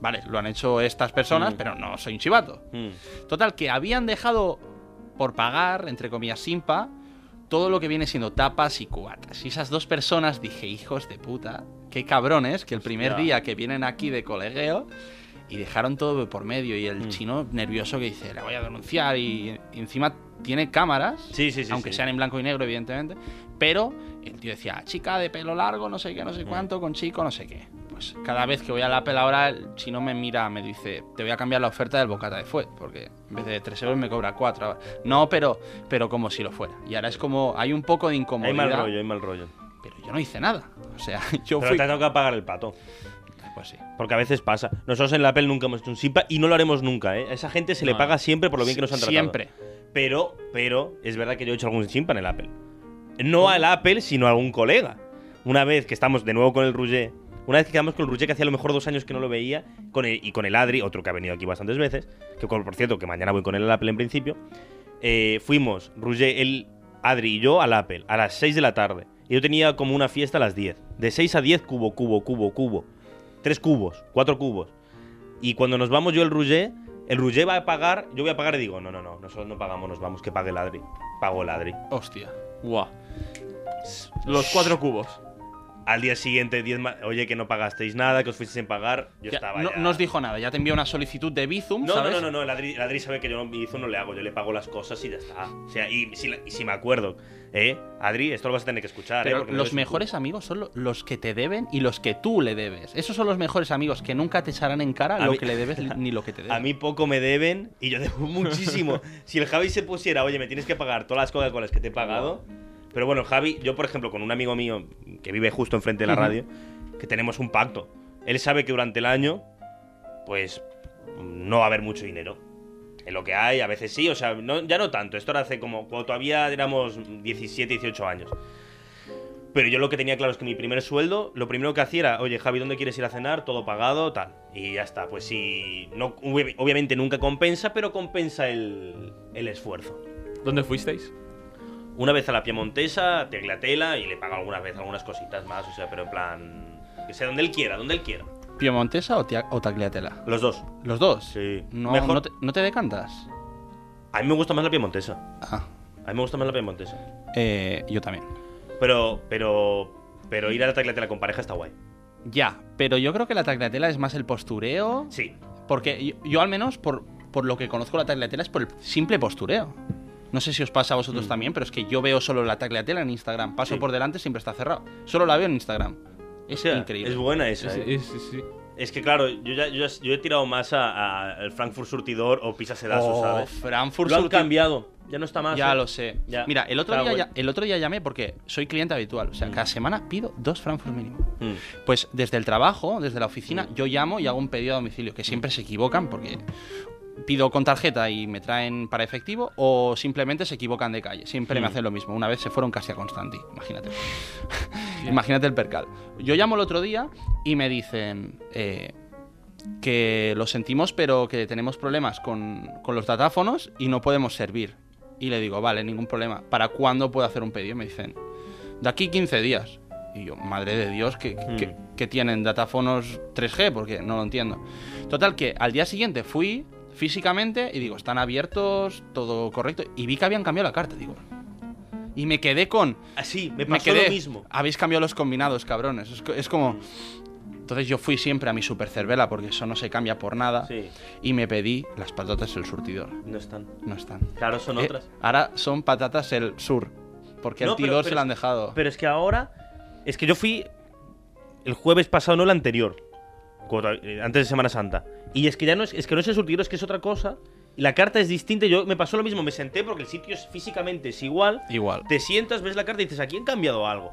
S6: vale, lo han hecho estas personas,
S3: Mm.
S6: pero no soy un chivato.
S3: Mm.
S6: Total, que habían dejado por pagar, entre comillas, simpa, todo lo que viene siendo tapas y cubatas. Y esas dos personas dije, hijos de puta, qué cabrones, que el primer
S4: Hostia.
S6: día que vienen aquí de colegueo y dejaron todo por medio. Y el
S3: Mm.
S6: chino nervioso que dice, la voy a denunciar. Y, y encima tiene cámaras,
S3: Sí, sí, sí,
S6: aunque
S3: sí.
S6: sean en blanco y negro, evidentemente. Pero el tío decía, "Ah, chica de pelo largo, no sé qué, no sé
S3: Mm.
S6: cuánto, con chico, no sé qué. Pues cada vez que voy a la Apple ahora, el chino me mira, me dice, te voy a cambiar la oferta del bocata de fuet, porque en vez de 3 euros me cobra 4 ahora. No, pero, pero como si lo fuera. Y ahora es como, hay un poco de
S3: Hay
S6: incomodidad.
S3: mal rollo, hay mal rollo.
S6: Pero yo no hice nada. O sea, yo
S3: Pero
S6: fui...
S3: te toca pagar el pato.
S6: Pues sí.
S3: Porque a veces pasa. Nosotros en la Apple nunca hemos hecho un simpa y no lo haremos nunca, ¿eh? A esa gente se le
S4: No.
S3: paga siempre por lo bien que nos han tratado.
S6: Siempre.
S3: Pero, pero, es verdad que yo he hecho algún simpa en el Apple. No al Apple, sino a algún colega. Una vez que estamos de nuevo con el Rouget, una vez que quedamos con el Rouget, que hacía a lo mejor dos años que no lo veía, con el- y con el Adri, otro que ha venido aquí bastantes veces, que con- por cierto, que mañana voy con él al Apple en principio, eh, fuimos, Rouget, él, Adri y yo al Apple a las 6 de la tarde. Y yo tenía como una fiesta a las 10. De 6 a 10, cubo, cubo, cubo, cubo. Tres cubos, cuatro cubos. Y cuando nos vamos yo el Rouget, el Rouget va a pagar, yo voy a pagar y digo, no, no, no, nosotros no pagamos, nos vamos, que pague el Adri. Pago el Adri.
S6: Hostia.
S4: Guau. Los cuatro cubos.
S3: Al día siguiente, 10 ma- oye, que no pagasteis nada, que os fuisteis sin pagar, yo
S6: Ya,
S3: estaba
S6: no,
S3: ya-
S6: no os dijo nada, ya te envió una solicitud de Bizum,
S3: No, no,
S6: ¿sabes?
S3: no, no, no, el Adri, el Adri sabe que yo no mi hizo, no le hago, yo le pago las cosas y ya está. O sea, y si, la- y si me acuerdo, ¿eh? Adri, esto lo vas a tener que escuchar, ¿eh?
S6: Pero
S3: Porque me
S6: los
S3: ves-
S6: mejores amigos son lo- los que te deben y los que tú le debes. Esos son los mejores amigos que nunca te echarán en cara
S3: A
S6: lo
S3: mí-
S6: que le debes ni lo que te deben.
S3: A mí poco me deben y yo debo muchísimo. si el Javi se pusiera, oye, me tienes que pagar todas las cosas con las que te he pagado. Pero bueno, Javi, yo por ejemplo, con un amigo mío que vive justo enfrente de la radio, que tenemos un pacto. Él sabe que durante el año, pues, no va a haber mucho dinero. En lo que hay, a veces sí, o sea, no- ya no tanto. Esto era hace como cuando todavía éramos 17, 18 años. Pero yo lo que tenía claro es que mi primer sueldo, lo primero que hacía era, oye Javi, ¿dónde quieres ir a cenar? Todo pagado, tal. Y ya está, pues sí, no, obvi- obviamente nunca compensa, pero compensa el, el esfuerzo.
S4: ¿Dónde fuisteis?
S3: Una vez a la Piemontesa, Teglatela, y le pago alguna vez algunas cositas más, o sea, pero en plan, que sea donde él quiera, donde él quiera.
S6: ¿Piemontesa o, tia- o tagliatella?
S3: Los dos.
S6: ¿Los dos?
S3: Sí.
S6: No,
S3: Mejor-
S6: no te, no te decantas?
S3: A mí me gusta más la piemontesa.
S6: Ah,
S3: A mí me gusta más la piemontesa.
S6: eh, yo también.
S3: Pero, pero, pero ir a la taclatela con pareja está guay.
S6: Ya, pero yo creo que la tagliatella es más el postureo.
S3: Sí.
S6: Porque yo, yo al menos, por, por lo que conozco la tagliatella, es por el simple postureo. No sé si os pasa a vosotros también, pero es que yo veo solo la tagliatella en Instagram. Paso
S3: Mm. Sí.
S6: por delante, siempre está cerrado. Solo la veo en Instagram. Es
S3: O sea,
S6: increíble.
S3: Es buena esa.
S4: Sí,
S3: eh.
S4: sí, sí, sí.
S3: Es que claro, yo ya, yo, ya- yo he tirado más a- a- al Frankfurt Surtidor o Pisa Sedazo,
S6: Oh,
S3: ¿sabes?
S6: Frankfurt
S3: Lo han
S6: surtido-
S3: cambiado. Ya no está más.
S6: Ya
S3: ¿eh?
S6: lo sé.
S3: Ya.
S6: Mira, el otro,
S3: Está
S6: día,
S3: bueno.
S6: ya- el otro día llamé porque soy cliente habitual. O sea,
S3: Mm.
S6: cada semana pido dos Frankfurt mínimo.
S3: Mm.
S6: Pues desde el trabajo, desde la oficina, yo llamo y hago un pedido a domicilio, que siempre se equivocan porque pido con tarjeta y me traen para efectivo o simplemente se equivocan de calle. Siempre me
S3: Mm.
S6: hacen lo mismo. Una vez se fueron casi a Constanti, imagínate. imagínate el percal. Yo llamo el otro día y me dicen eh, que lo sentimos pero que tenemos problemas con, con los datáfonos y no podemos servir. Y le digo, vale, ningún problema. ¿Para cuándo puedo hacer un pedido? Y me dicen, de aquí 15 días. Y yo, madre de Dios, que, que-
S3: Mm.
S6: que tienen datáfonos 3G, porque no lo entiendo. Total, que al día siguiente fui físicamente y digo, están abiertos, todo correcto. Y vi que habían cambiado la carta, digo. Y me quedé con.
S3: Así, Ah, me pasó
S6: quedé,
S3: lo mismo.
S6: Habéis cambiado los combinados, cabrones. Es, co- es como. Entonces yo fui siempre a mi super cervela, porque eso no se cambia por nada.
S3: Sí,
S6: Y me pedí las patatas del surtidor.
S3: no están.
S6: No están.
S3: Claro, son
S6: Eh,
S3: otras.
S6: ahora son patatas el sur. Porque
S3: No,
S6: el
S3: pero-
S6: tidor
S3: pero
S6: se la han
S3: es-
S6: dejado.
S3: Pero es que ahora. Es que yo fui el jueves pasado, no el anterior. cuando- eh, Antes de Semana Santa. Y es que ya no es, es que no es el surtidor, es que es otra cosa. Y la carta es distinta. Yo me pasó lo mismo, me senté porque el sitio es- físicamente es igual.
S6: Igual.
S3: Te sientas, ves la carta y dices, aquí han cambiado algo.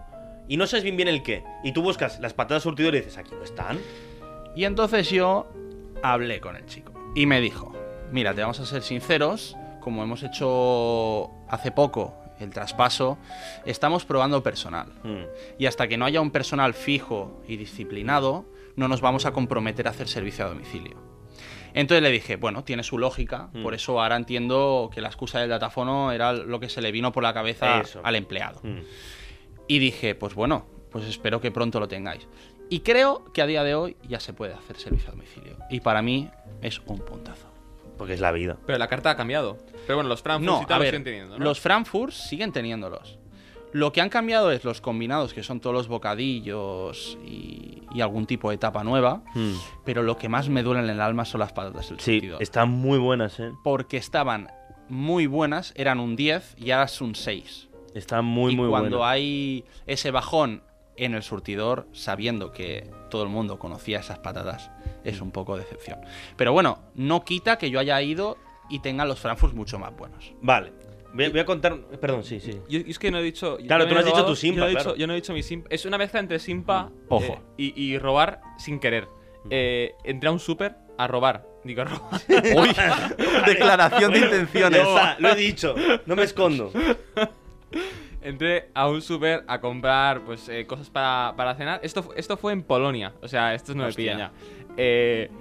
S3: Y no sabes bien bien el qué. Y tú buscas las patadas surtidor y dices, aquí no están.
S6: Y entonces yo hablé con el chico y me dijo, mira, te vamos a ser sinceros, como hemos hecho hace poco el traspaso, estamos probando personal.
S3: Mm.
S6: Y hasta que no haya un personal fijo y disciplinado, no nos vamos a comprometer a hacer servicio a domicilio. Entonces le dije, bueno, tiene su lógica,
S3: Mm.
S6: por eso ahora entiendo que la excusa del datafono era lo que se le vino por la cabeza
S3: Eso.
S6: al empleado.
S3: Mm.
S6: Y dije, pues bueno, pues espero que pronto lo tengáis. Y creo que a día de hoy ya se puede hacer servicio a domicilio. Y para mí es un puntazo.
S3: Porque es la vida.
S4: Pero la carta ha cambiado. Pero bueno, los Frankfurt
S6: No,
S4: y
S6: a
S4: tal lo
S6: ver,
S4: siguen teniendo, ¿no?
S6: los Frankfurt siguen teniéndolos. Lo que han cambiado es los combinados, que son todos los bocadillos y, y algún tipo de tapa nueva. Pero lo que más me duele en el alma son las patatas del
S3: Mm. Sí,
S6: surtidor.
S3: están muy buenas, ¿eh?
S6: Porque estaban muy buenas, eran un 10 y ahora es un 6.
S3: Están muy,
S6: y
S3: muy
S6: cuando
S3: buenas.
S6: hay ese bajón en el surtidor, sabiendo que todo el mundo conocía esas patatas, es un poco decepción. Pero bueno, no quita que yo haya ido y tenga los Frankfurt mucho más buenos.
S3: Vale. Voy a, voy a contar. Perdón, sí, sí.
S4: Yo, yo es que no he dicho. yo
S3: Claro,
S4: también
S3: tú no
S4: he
S3: has dicho
S4: robado,
S3: tu simpa,
S4: Yo no he,
S3: claro.
S4: dicho, yo no he dicho mi simpa. Es una mezcla entre simpa
S6: Ojo.
S4: eh, y, y robar sin querer. Eh, entré a un súper a robar. Digo, a robar.
S6: Uy, declaración de
S3: Ya
S6: intenciones.
S3: está, lo he dicho. No me escondo.
S4: Entré a un súper a comprar pues eh, cosas para, para cenar. Esto, fu- esto fue en Polonia. O sea, estos no me
S6: Hostia.
S4: pillan ya. Eh,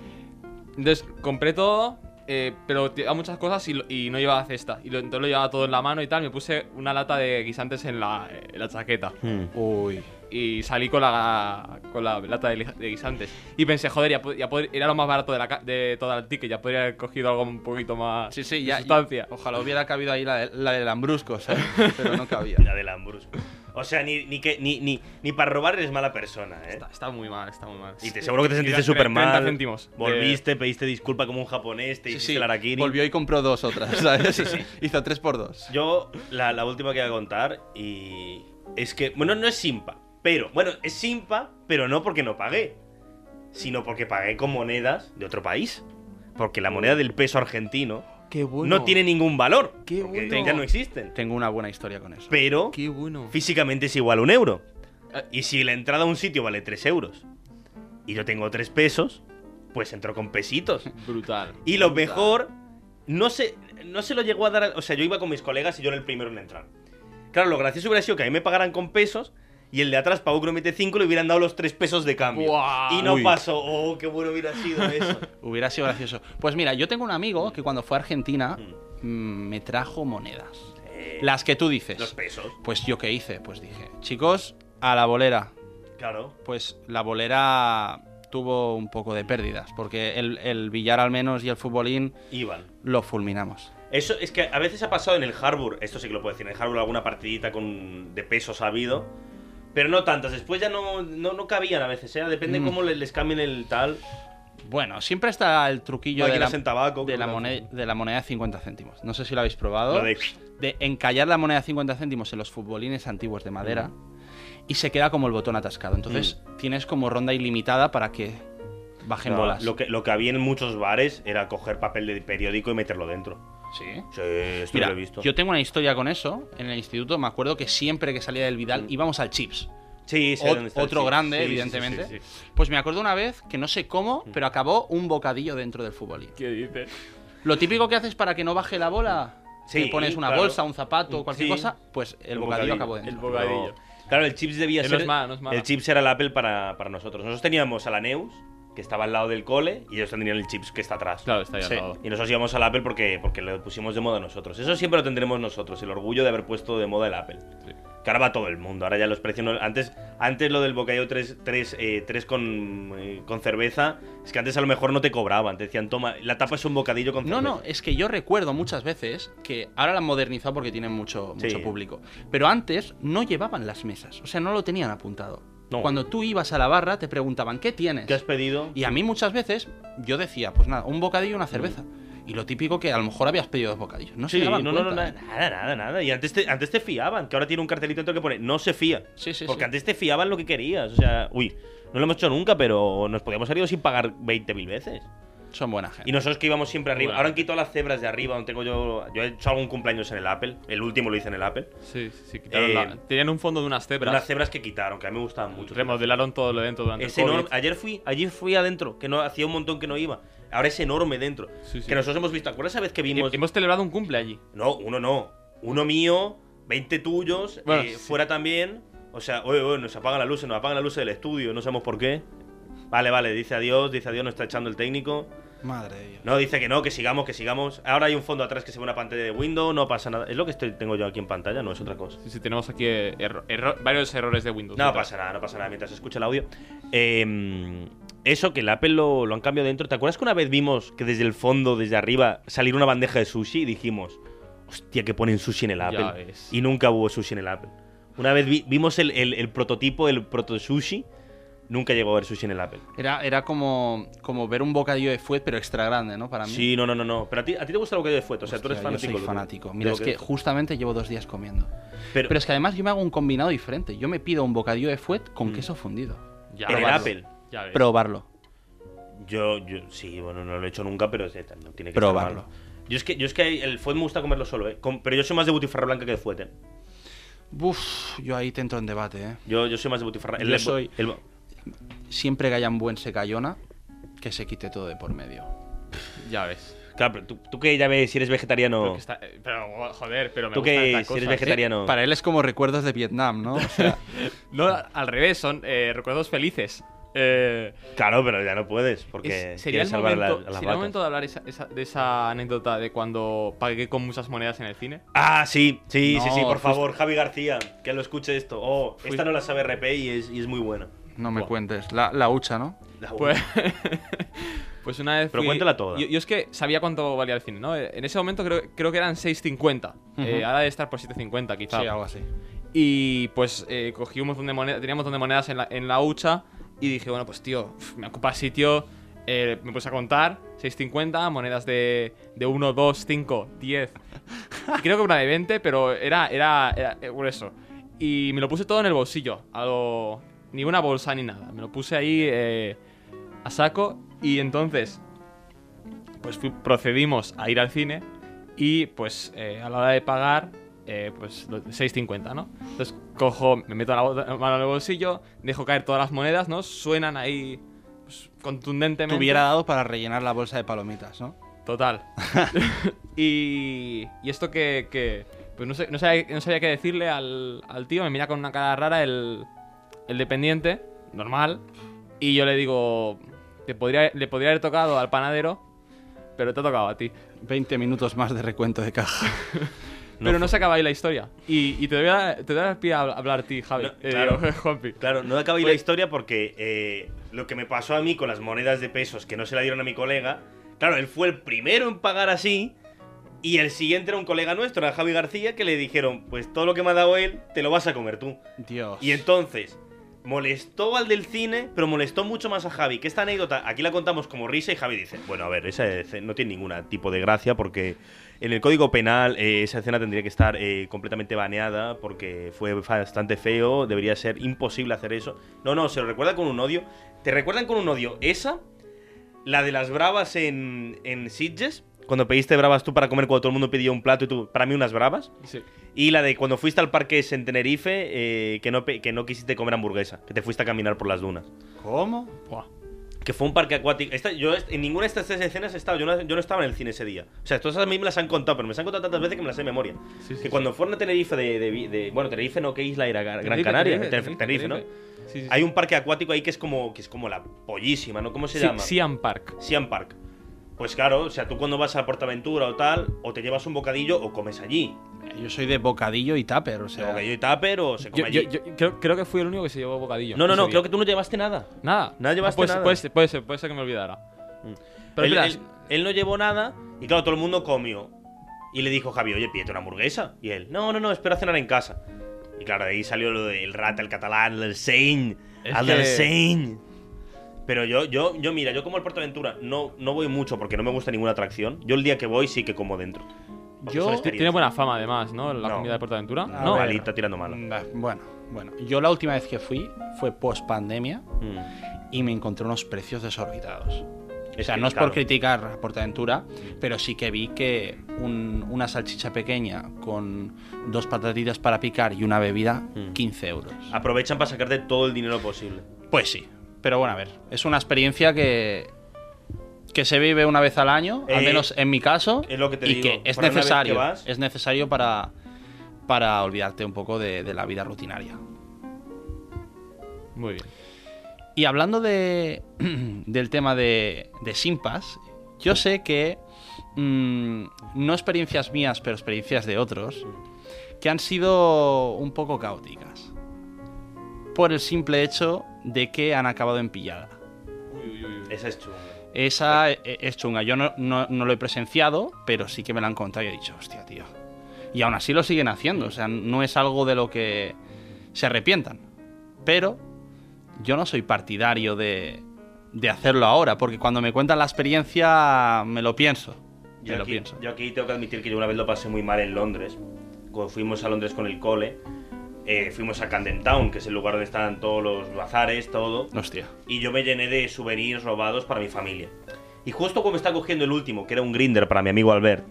S4: entonces, compré todo. eh, pero llevaba muchas cosas y, lo- y no llevaba cesta. Y lo- entonces lo llevaba todo en la mano y tal. Me puse una lata de guisantes en la, en la chaqueta.
S6: Uy.
S4: y salí con la, con la lata de, li- de guisantes. Y pensé, joder, ya, po- ya pod- era lo más barato de, la, ca- de toda el ticket, ya podría haber cogido algo un poquito más
S6: Sí, sí,
S4: de
S6: ya.
S4: sustancia.
S6: Ojalá hubiera cabido ahí la, de- la del Ambrusco, ¿sabes? Pero no cabía.
S3: La del Ambrus. O sea, ni, ni, que, ni, ni, ni para robar eres mala persona, ¿eh?
S4: Está, está muy mal, está muy mal.
S3: Y te seguro que te sentiste
S4: Tre-
S3: súper
S4: 30
S3: mal.
S4: céntimos. de-
S3: Volviste, pediste disculpa como un japonés, te
S6: Sí,
S3: hiciste
S6: sí,
S3: el harakiri.
S6: Volvió y compró dos otras, ¿sabes? Hizo tres por dos.
S3: Yo, la, la última que voy a contar, y. Es que. Bueno, no es simpa, pero. Bueno, es simpa, pero no porque no pagué. Sino porque pagué con monedas de otro país. Porque la moneda del peso argentino
S6: Qué
S3: no tiene ningún valor.
S6: Qué
S3: porque
S6: bueno.
S3: ya no existen.
S6: Tengo una buena historia con eso.
S3: Pero
S4: Qué bueno.
S3: físicamente es igual a un euro.
S4: Eh.
S3: Y si la entrada a un sitio vale 3 euros y yo tengo 3 pesos, pues entro con pesitos.
S4: Brutal.
S3: Y lo
S4: brutal.
S3: mejor, no se, no se lo llegó a dar. al- O sea, yo iba con mis colegas y yo era el primero en entrar. Claro, lo gracioso hubiera sido que a mí me pagaran con pesos y el de atrás pagó con 25 y le hubieran dado los 3 pesos de cambio.
S4: Guau.
S3: Y no
S6: Uy.
S3: pasó. Oh, qué bueno hubiera sido eso.
S6: Hubiera sido gracioso. Pues mira, yo tengo un amigo que cuando fue a Argentina mm, me trajo monedas.
S3: Eh,
S6: Las que tú
S3: los
S6: dices.
S3: pesos,
S6: Pues yo qué hice, pues dije, chicos, a la bolera.
S3: claro.
S6: Pues la bolera tuvo un poco de pérdidas, porque el, el billar al menos y el futbolín
S3: Iban.
S6: lo fulminamos.
S3: Eso es que a veces ha pasado en el Harbour, esto sí que lo puedo decir, en el Harbour alguna partidita con, de peso sabido, pero no tantas, después ya no, no, no cabían a veces, ¿eh?
S6: Mm.
S3: depende cómo le- les cambien el tal.
S6: Bueno, siempre está el truquillo de la,
S3: Máquinas en tabaco,
S6: de,
S3: creo
S6: la
S3: que
S6: moneda,
S3: hacen.
S6: de la moneda de 50 céntimos. No sé si lo habéis probado.
S3: Lo de-
S6: de encallar la moneda de 50 céntimos en los futbolines antiguos de madera
S3: Mm.
S6: y se queda como el botón atascado. Entonces tienes como ronda ilimitada para que bajen
S3: No,
S6: bolas.
S3: Lo que, lo que había en muchos bares era coger papel de periódico y meterlo dentro.
S6: Sí.
S3: Sí, esto
S6: Mira,
S3: lo he visto.
S6: yo tengo una historia con eso. En el instituto me acuerdo que siempre que salía del
S3: Mm.
S6: Vidal íbamos al Chips.
S3: Sí, sé
S6: Ot-
S3: dónde está el
S6: otro
S3: chip.
S6: grande,
S3: Sí, sí, sí,
S6: evidentemente.
S3: sí, sí.
S6: Pues me acuerdo una vez que no sé cómo,
S3: Mm.
S6: pero acabó un bocadillo dentro del futbolín.
S4: ¿Qué dices?
S6: Lo típico que haces para que no baje la bola,
S3: Sí,
S6: le pones una
S3: claro. Mm,
S6: bolsa, un zapato, cualquier
S3: Sí.
S6: cosa, pues el,
S3: El
S6: bocadillo,
S3: bocadillo,
S6: acabó dentro.
S4: El bocadillo.
S3: Pero, claro, el chips debía
S4: Que no
S3: ser.
S4: es mala, no es mala.
S3: El chips era el Apple para, para nosotros. Nosotros teníamos a la Neus, que estaba al lado del cole, y ellos tendrían el chips que está atrás.
S4: Claro, está ahí
S6: Sí.
S4: al lado.
S3: Y nosotros íbamos al Apple porque, porque lo pusimos de moda nosotros. Eso siempre lo tendremos nosotros, el orgullo de haber puesto de moda el Apple. Que ahora va todo el mundo, ahora ya los precios... no- Antes, antes lo del bocadillo 3, con, eh, con cerveza, es que antes a lo mejor no te cobraban, te decían, toma, la tapa es un bocadillo con
S6: No,
S3: cerveza.
S6: no, es que yo recuerdo muchas veces que ahora la han modernizado porque tienen mucho,
S3: Sí.
S6: mucho público. Pero antes no llevaban las mesas, o sea, no lo tenían apuntado.
S3: No.
S6: Cuando tú ibas a la barra te preguntaban, ¿qué tienes?
S3: ¿Qué has pedido?
S6: Y a mí muchas veces yo decía, pues nada, un bocadillo y una cerveza. Y lo típico que a lo mejor habías pedido dos bocadillos. No
S3: Mm. sí,
S6: se
S3: no,
S6: daban
S3: no, no,
S6: cuenta.
S3: nada, nada, nada. Y antes te, antes te fiaban, que ahora tiene un cartelito dentro que pone, no se fía.
S6: Sí, sí,
S3: Porque
S6: sí.
S3: antes te fiaban lo que querías, o sea, uy, no lo hemos hecho nunca, pero nos podíamos haber ido sin pagar 20.000 veces.
S6: Son buena gente.
S3: Y nosotros que íbamos siempre arriba.
S4: Bueno.
S3: Ahora han quitado las cebras de arriba, donde tengo yo. Yo he hecho algún cumpleaños en el Apple. El último lo hice en el Apple.
S4: Sí, sí, sí, quitaron
S3: Eh,
S4: la- Tenían un fondo de unas cebras.
S3: Unas cebras que quitaron, que a mí me gustaban mucho.
S4: Remodelaron todo lo dentro durante
S3: Es
S4: el COVID.
S3: enorme. Ayer fui, allí fui adentro, que no hacía un montón que no iba. Ahora es enorme dentro.
S4: Sí, sí.
S3: Que nosotros hemos visto. ¿Acuerdas esa vez que vimos?
S4: Hemos celebrado un cumple allí.
S3: No, uno no. Uno mío, 20 tuyos,
S4: Bueno,
S3: eh,
S4: sí.
S3: fuera también. O sea, oye, oye, nos apagan las luces, nos apagan las luces del estudio, no sabemos por qué. Vale, vale, dice adiós, dice adiós, nos está echando el técnico.
S6: Madre de Dios.
S3: No, dice que no, que sigamos, que sigamos. Ahora hay un fondo atrás que se ve una pantalla de Windows, no pasa nada. Es lo que estoy, tengo yo aquí en pantalla, no es otra cosa.
S4: Sí, sí, tenemos aquí eh, erro- erro- varios errores de Windows.
S3: No
S4: Otra.
S3: pasa nada, no pasa nada mientras se escucha el audio. Eh, eso, que el Apple lo, lo han cambiado dentro. ¿Te acuerdas que una vez vimos que desde el fondo, desde arriba, salir una bandeja de sushi y dijimos, hostia, que ponen sushi en el
S4: Ya
S3: Apple?
S4: ves.
S3: Y nunca hubo sushi en el Apple. Una vez vi- vimos el, el- el prototipo, el proto sushi, nunca llegó a haber sushi en el Apple.
S6: Era, era como, como ver un bocadillo de fuet, pero extra grande, ¿no? Para mí.
S3: Sí, no, no, no, no. Pero a ti, a ti te gusta lo que de fueto, o sea, tú eres
S6: Hostia, yo
S3: fanático.
S6: soy
S3: Luke.
S6: fanático.
S3: De
S6: Mira,
S3: lo
S6: es que
S3: es.
S6: justamente llevo dos días comiendo.
S3: Pero,
S6: Pero es que además yo me hago un combinado diferente. Yo me pido un bocadillo de fuet con queso fundido.
S4: Ya
S3: en el
S4: ves.
S3: Apple.
S4: Ya ves.
S6: Probarlo.
S3: Yo, yo, sí, bueno, no lo he hecho nunca, pero es- no tiene que
S6: Probarlo.
S3: estar malo. Yo es que, yo es que el fuet me gusta comerlo solo, ¿eh? Com- pero yo soy más de butifarra blanca que de fuet, ¿eh?
S6: Uf, yo ahí te entro en debate, ¿eh?
S3: Yo, yo soy más de butifarra.
S6: Yo soy-
S3: el-
S6: Siempre que haya un buen secayona, que se quite todo de por medio.
S4: Ya ves.
S3: claro, pero tú, tú que ya ves si eres vegetariano.
S4: Pero, que está- eh, pero, joder, pero me
S3: Tú
S4: gustan
S3: que
S4: estas
S3: si eres
S4: cosas.
S3: vegetariano.
S6: Para él es como recuerdos de Vietnam, ¿no? O sea,
S4: No, al revés, son eh, recuerdos felices. Eh,
S3: Claro, pero ya no puedes, porque
S4: es- sería
S3: quieres
S4: el
S3: salvar a la-
S4: momento,
S3: a las
S4: sería el
S3: vacas.
S4: momento de hablar esa- esa- de esa anécdota de cuando pagué con muchas monedas en el cine.
S3: Ah, sí, sí, sí, sí,
S6: No,
S3: por
S6: justo-
S3: favor, Javi García, que lo escuche esto. Oh, esta no la sabe RP y es, y es muy buena.
S6: no me
S3: Buah.
S6: cuentes. La, la hucha, ¿no?
S3: La-
S4: Pues, pues una vez.
S3: Pero
S4: fui-
S3: cuéntala toda.
S4: Yo, yo es que sabía cuánto valía el cine, ¿no? Eh, En ese momento creo, creo que eran 6.50. Eh, ahora debe estar por 7.50, quizá.
S6: así.
S4: Y pues eh, cogí un montón de monedas, tenía un montón de monedas en la, en la hucha y dije, bueno, pues tío, pf, me ocupa sitio, eh, me puse a contar, 6.50, monedas de, de 1, 2, 5, 10, y creo que una de 20, pero era, era, era eh, grueso. Y me lo puse todo en el bolsillo, a lo- ni una bolsa ni nada, me lo puse ahí eh, a saco y entonces pues fui- procedimos a ir al cine y pues eh, a la hora de pagar eh, pues lo- 6.50, ¿no? Entonces cojo, me meto la bota- la mano en el bolsillo, dejo caer todas las monedas, ¿no? Suenan ahí pues,
S6: Te
S4: contundentemente.
S6: hubiera dado para rellenar la bolsa de palomitas, ¿no?
S4: Total. y, y esto que, que- pues no, sé- no sabía, no sabía qué decirle al, al tío, me mira con una cara rara el, el dependiente, normal, y yo le digo, te podría, le podría haber tocado al panadero, pero te ha tocado a ti.
S6: 20 minutos más de recuento de caja.
S4: pero no, se acaba ahí la historia. Y, y te doy la, te doy la pie a habl- hablar a ti, Javi.
S3: No,
S4: Eh,
S3: claro.
S4: digo, Juanpi.
S3: Claro, no acabé la historia porque eh, lo que me pasó a mí con las monedas de pesos que no se la dieron a mi colega, claro, él fue el primero en pagar así y el siguiente era un colega nuestro, era Javi García, que le dijeron, pues todo lo que me ha dado él, te lo vas a comer tú.
S6: Dios.
S3: Y entonces, molestó al del cine, pero molestó mucho más a Javi. Que esta anécdota, aquí la contamos como risa y Javi dice, bueno, a ver, esa escena no tiene ningún tipo de gracia porque en el Código Penal eh, esa escena tendría que estar eh, completamente baneada porque fue bastante feo, debería ser imposible hacer eso. No, no, se lo recuerda con un odio. ¿Te recuerdan con un odio esa? La de las bravas en, en Sitges, cuando pediste bravas tú para comer cuando todo el mundo pedía un plato y tú, para mí unas bravas.
S4: Sí.
S3: Y la de cuando fuiste al parque ese en Tenerife, eh, que, no, pe- que no quisiste comer hamburguesa, que te fuiste a caminar por las dunas.
S6: ¿Cómo?
S4: Buah.
S3: Que fue un parque acuático. Esta- yo est- en ninguna de estas tres escenas he estado, yo no, yo no estaba en el cine ese día. O sea, todas a mí me las han contado, pero me las han contado tantas veces que me las sé de memoria.
S4: Sí, sí,
S3: que
S4: sí.
S3: cuando fueron a Tenerife de, de vi- de- Bueno, Tenerife no, ¿qué isla era? Gran
S4: Tenerife,
S3: Canaria.
S4: Tenerife,
S3: Tenerife, Tenerife, ¿no?
S4: Tenerife. Sí, sí, sí.
S3: Hay un parque acuático ahí que es como, que es como la pollísima, ¿no? ¿Cómo se
S4: Sí,
S3: llama?
S4: Siam Park.
S3: Siam Park. Pues claro, o sea, tú cuando vas a Portaventura o tal, o te llevas un bocadillo o comes allí.
S6: Yo soy de bocadillo y tupper, o
S3: O sea,
S6: sea.
S3: bocadillo y tupper o se come
S4: Yo,
S3: allí.
S4: yo- yo creo, creo que fui el único que se llevó bocadillo.
S3: No, no,
S4: ese
S3: no,
S4: día.
S3: creo que tú no llevaste nada.
S4: Nada.
S3: Nada llevaste
S4: pues,
S3: nada. Mm.
S4: Puede ser, puede ser, puede ser que me olvidara. Pero
S3: él,
S4: espera,
S3: él- él no llevó nada y claro, todo el mundo comió. Y le dijo Javi, oye, pídete una hamburguesa. Y él, no, no, no, espero a cenar en casa. Y claro, de ahí salió lo del rata, el catalán, el Sein,
S4: Es
S3: el
S4: que-
S3: del Sein. Pero yo, yo, yo, mira, yo como el Portaventura no, no voy mucho porque no me gusta ninguna atracción. Yo el día que voy sí que como dentro. Porque
S6: Yo-
S3: son
S4: ti-
S3: experiencias.
S4: tiene buena fama además, ¿no? La
S3: No. Ah,
S4: comida de Portaventura.
S6: A
S4: no,
S6: ver.
S3: malita tirando mala.
S6: Mm, Bueno, bueno. Yo la última vez que fui fue post pandemia
S3: Mm.
S6: y me encontré unos precios desorbitados. O
S3: Es
S6: sea,
S3: que,
S6: no es
S3: claro,
S6: por criticar a Portaventura, pero sí que vi que un- una salchicha pequeña con dos patatitas para picar y una bebida,
S3: Mm.
S6: 15 euros.
S3: Aprovechan para sacarte todo el dinero posible.
S6: Ah, Pues sí, pero bueno, a ver, es una experiencia que, que se vive una vez al año, al
S3: Eh,
S6: menos en mi caso,
S3: es lo que te
S6: y
S3: digo,
S6: que es
S3: para una vez que
S6: necesario,
S3: vas-
S6: es necesario para, para olvidarte un poco de, de la vida rutinaria.
S4: Muy bien.
S6: Y hablando de, del tema de, de Simpas, yo sé que mm, no experiencias mías, pero experiencias de otros, que han sido un poco caóticas. Por el simple hecho de que han acabado en pillada.
S4: Mm.
S3: Esa es chunga.
S6: Esa e- e- es chunga. Yo no, no- no lo he presenciado, pero sí que me la han contado y he dicho, hostia, tío. Y aún así lo siguen haciendo. O sea, no es algo de lo que se arrepientan. Pero yo no soy partidario de, de hacerlo ahora, porque cuando me cuentan la experiencia me lo pienso. Me
S3: Yo
S6: lo
S3: aquí,
S6: pienso.
S3: yo aquí tengo que admitir que yo una vez lo pasé muy mal en Londres. Cuando fuimos a Londres con el cole, eh, fuimos a Camden Town, que es el lugar donde están todos los bazares, todo.
S6: Hostia.
S3: Y yo me llené de souvenirs robados para mi familia. Y justo como está cogiendo el último, que era un grinder para mi amigo Albert,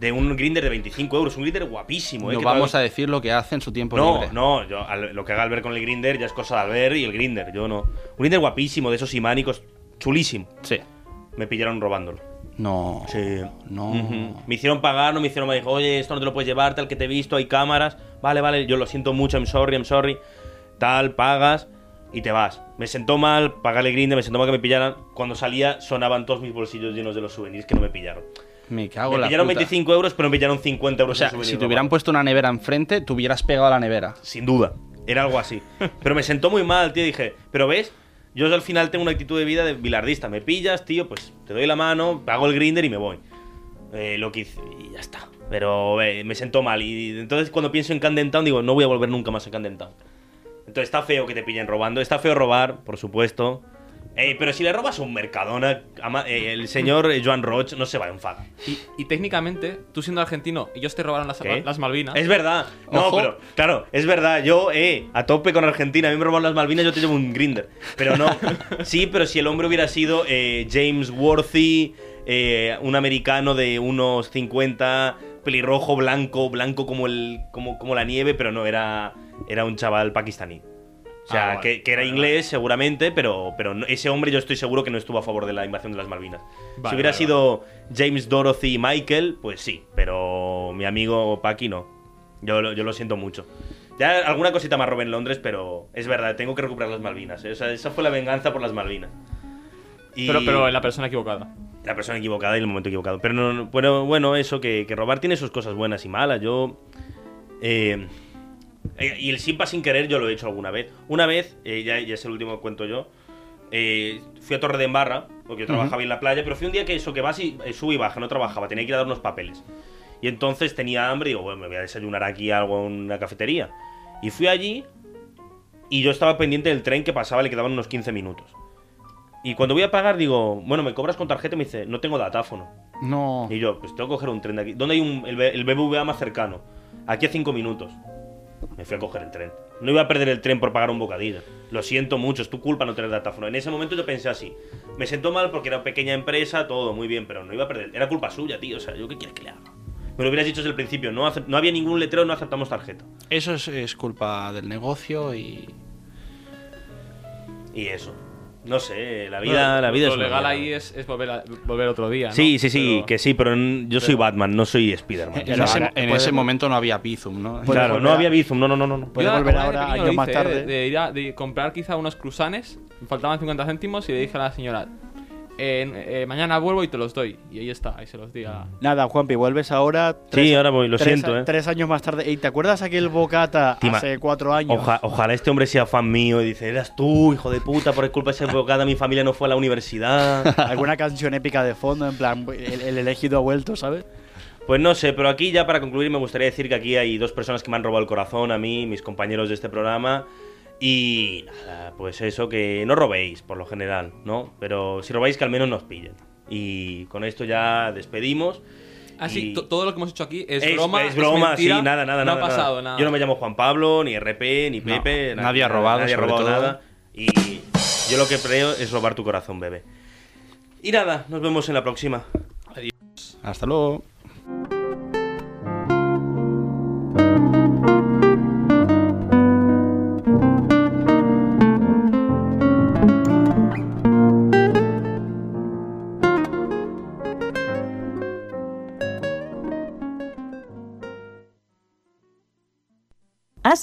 S3: de un grinder de 25 euros, un grinder guapísimo, ¿eh?
S6: No
S3: que
S6: vamos
S3: todavía-
S6: a decir lo que hace en su tiempo
S3: no,
S6: libre.
S3: no, yo, al- lo que haga Albert con el grinder ya es cosa de Albert y el grinder, yo no. Un grinder guapísimo, de esos imánicos, chulísimo.
S6: Sí.
S3: Me pillaron robándolo.
S6: No.
S3: Sí.
S6: No.
S3: Ujú. Me hicieron pagar, no me hicieron, me dijo, oye, esto no te lo puedes llevar, tal que te he visto, hay cámaras. Vale, vale, yo lo siento mucho, I'm sorry, I'm sorry. Tal, pagas y te vas. Me sentó mal pagarle grinde, me sentó mal que me pillaran. Cuando salía sonaban todos mis bolsillos llenos de los souvenirs que no me pillaron.
S6: Me cago en
S3: Me
S6: la
S3: pillaron
S6: puta.
S3: 25 euros, pero me pillaron 50
S6: O
S3: euros.
S6: sea,
S3: en souvenirs
S6: si te hubieran
S3: robados.
S6: puesto una nevera enfrente, te hubieras pegado a la nevera.
S3: Sin duda, era algo así. Pero me sentó muy mal, tío, dije, pero ves, yo al final tengo una actitud de vida de bilardista. Me pillas, tío, pues te doy la mano, hago el grinder y me voy. Eh, lo que hice, y ya está. Pero eh, me sentó mal. Y entonces cuando pienso en Camden Town, digo, no voy a volver nunca más a Camden Town. Entonces está feo que te pillen robando. Está feo robar, por supuesto. Eh, pero si le robas a un Mercadona, ama- eh, el señor eh, Joan Roch no se va a enfadar.
S4: Y, y técnicamente, tú siendo argentino, ellos te robaron las,
S3: ¿Qué?
S4: las Malvinas.
S3: Es verdad. No,
S6: Ojo.
S3: pero claro, es verdad. Yo, eh, a tope con Argentina. A mí me robaron las Malvinas, yo te llevo un grinder. Pero no. Sí, pero si el hombre hubiera sido eh, James Worthy, eh, un americano de unos 50, pelirrojo, blanco, blanco como, el, como, como la nieve, pero no, era, era un chaval pakistaní. O sea,
S4: Ah, vale,
S3: que, que era
S4: vale,
S3: inglés seguramente, pero, pero no- ese hombre yo estoy seguro que no estuvo a favor de la invasión de las Malvinas. si
S4: Vale,
S3: hubiera
S4: vale,
S3: sido James Dorothy y Michael, pues sí, pero mi amigo Paki no. Yo, lo- yo lo siento mucho. Ya alguna cosita más robé en Londres, pero es verdad, tengo que recuperar las Malvinas. ¿eh? O sea, esa fue la venganza por las Malvinas. Y-
S4: Pero, pero la persona equivocada.
S3: la persona equivocada y el momento equivocado. Pero, no- no- pero bueno, eso, que, que robar tiene sus cosas buenas y malas. Yo. eh, eh, y el simpa sin querer yo lo he hecho alguna vez. Una vez, eh, ya, ya es el último que cuento yo, eh, fui a Torre de Embarra, porque yo trabajaba ahí en la playa, pero fue un día que eso, que vas y eh, sube y baja, no trabajaba, tenía que ir a dar unos papeles. Y entonces tenía hambre y digo, bueno, me voy a desayunar aquí algo en una cafetería. Y fui allí y yo estaba pendiente del tren que pasaba, le quedaban unos 15 minutos. Y cuando voy a pagar digo, bueno, ¿me cobras con tarjeta? Y me dice, no tengo datáfono.
S6: No.
S3: Y yo, pues tengo que coger un tren de aquí. ¿Dónde hay un, el, B- el BBVA más cercano? Aquí a 5 minutos. Me fui a coger el tren. No iba a perder el tren por pagar un bocadillo. Lo siento mucho, es tu culpa no tener datáfono. En ese momento yo pensé así. Me sentó mal porque era pequeña empresa, todo muy bien, pero no iba a perder. Era culpa suya, tío. O sea, ¿yo qué quieres que le haga? Me lo hubieras dicho desde el principio. No, acep- no había ningún letrero, no aceptamos tarjeta.
S6: Eso es, es culpa del negocio y.
S3: Y eso. No sé, la vida,
S4: Bueno,
S3: la vida
S4: lo
S3: es una
S4: legal
S3: mierda.
S4: ahí es, es volver, a- volver otro día. ¿no?
S3: Sí, sí, sí,
S4: Pero-
S3: que sí, pero n- yo soy Batman, no soy Spiderman.
S6: En,
S5: Claro,
S6: ese,
S5: ahora-
S6: en
S5: puede-
S6: ese momento no había Bizum, ¿no?
S5: Puede-
S3: Claro, no
S5: volver a-
S3: había Bizum, no, no, no, no, no.
S5: Puede
S4: Yo
S5: volver
S4: como de
S5: ahora,
S4: pequeño
S5: años
S4: lo
S5: más
S4: hice, ¿eh?
S5: tarde.
S4: De, de ir a de comprar quizá unos cruzanes, me faltaban 50 céntimos y le dije a la señora, "Eh, eh, mañana vuelvo y te los doy. Y ahí está, ahí se los di a...
S5: Nada, Juanpi, vuelves ahora.
S3: Sí, ahora voy, lo
S5: tres-
S3: siento, eh.
S5: Tres años más tarde. ¿Y te acuerdas aquel bocata
S3: Tima,
S5: hace cuatro años?
S3: Oja- ojalá este hombre sea fan mío y dice, eras tú, hijo de puta, por culpa de esa bocada mi familia no fue a la universidad.
S5: Alguna canción épica de fondo, en plan, el, el elegido ha vuelto, ¿sabes?
S3: Pues no sé, pero aquí ya para concluir me gustaría decir que aquí hay dos personas que me han robado el corazón, a mí, mis compañeros de este programa. Y nada, pues eso, que no robéis por lo general, ¿no? Pero si robáis que al menos nos pillen. Y con esto ya despedimos.
S4: Así,
S3: Y-
S4: Ah, to- todo lo que hemos hecho aquí es, broma,
S3: es broma,
S4: mentira,
S3: sí, nada, nada,
S4: No
S3: nada,
S4: ha pasado
S3: nada.
S4: nada.
S3: Yo no me llamo Juan Pablo, ni RP, ni
S6: No,
S3: Pepe. na-
S6: nadie ha robado,
S3: Nadie ha
S6: sobre
S3: robado
S6: todo.
S3: nada. Y yo lo que creo es robar tu corazón, bebé. Y nada, nos vemos en la próxima.
S6: Hasta luego.
S1: Has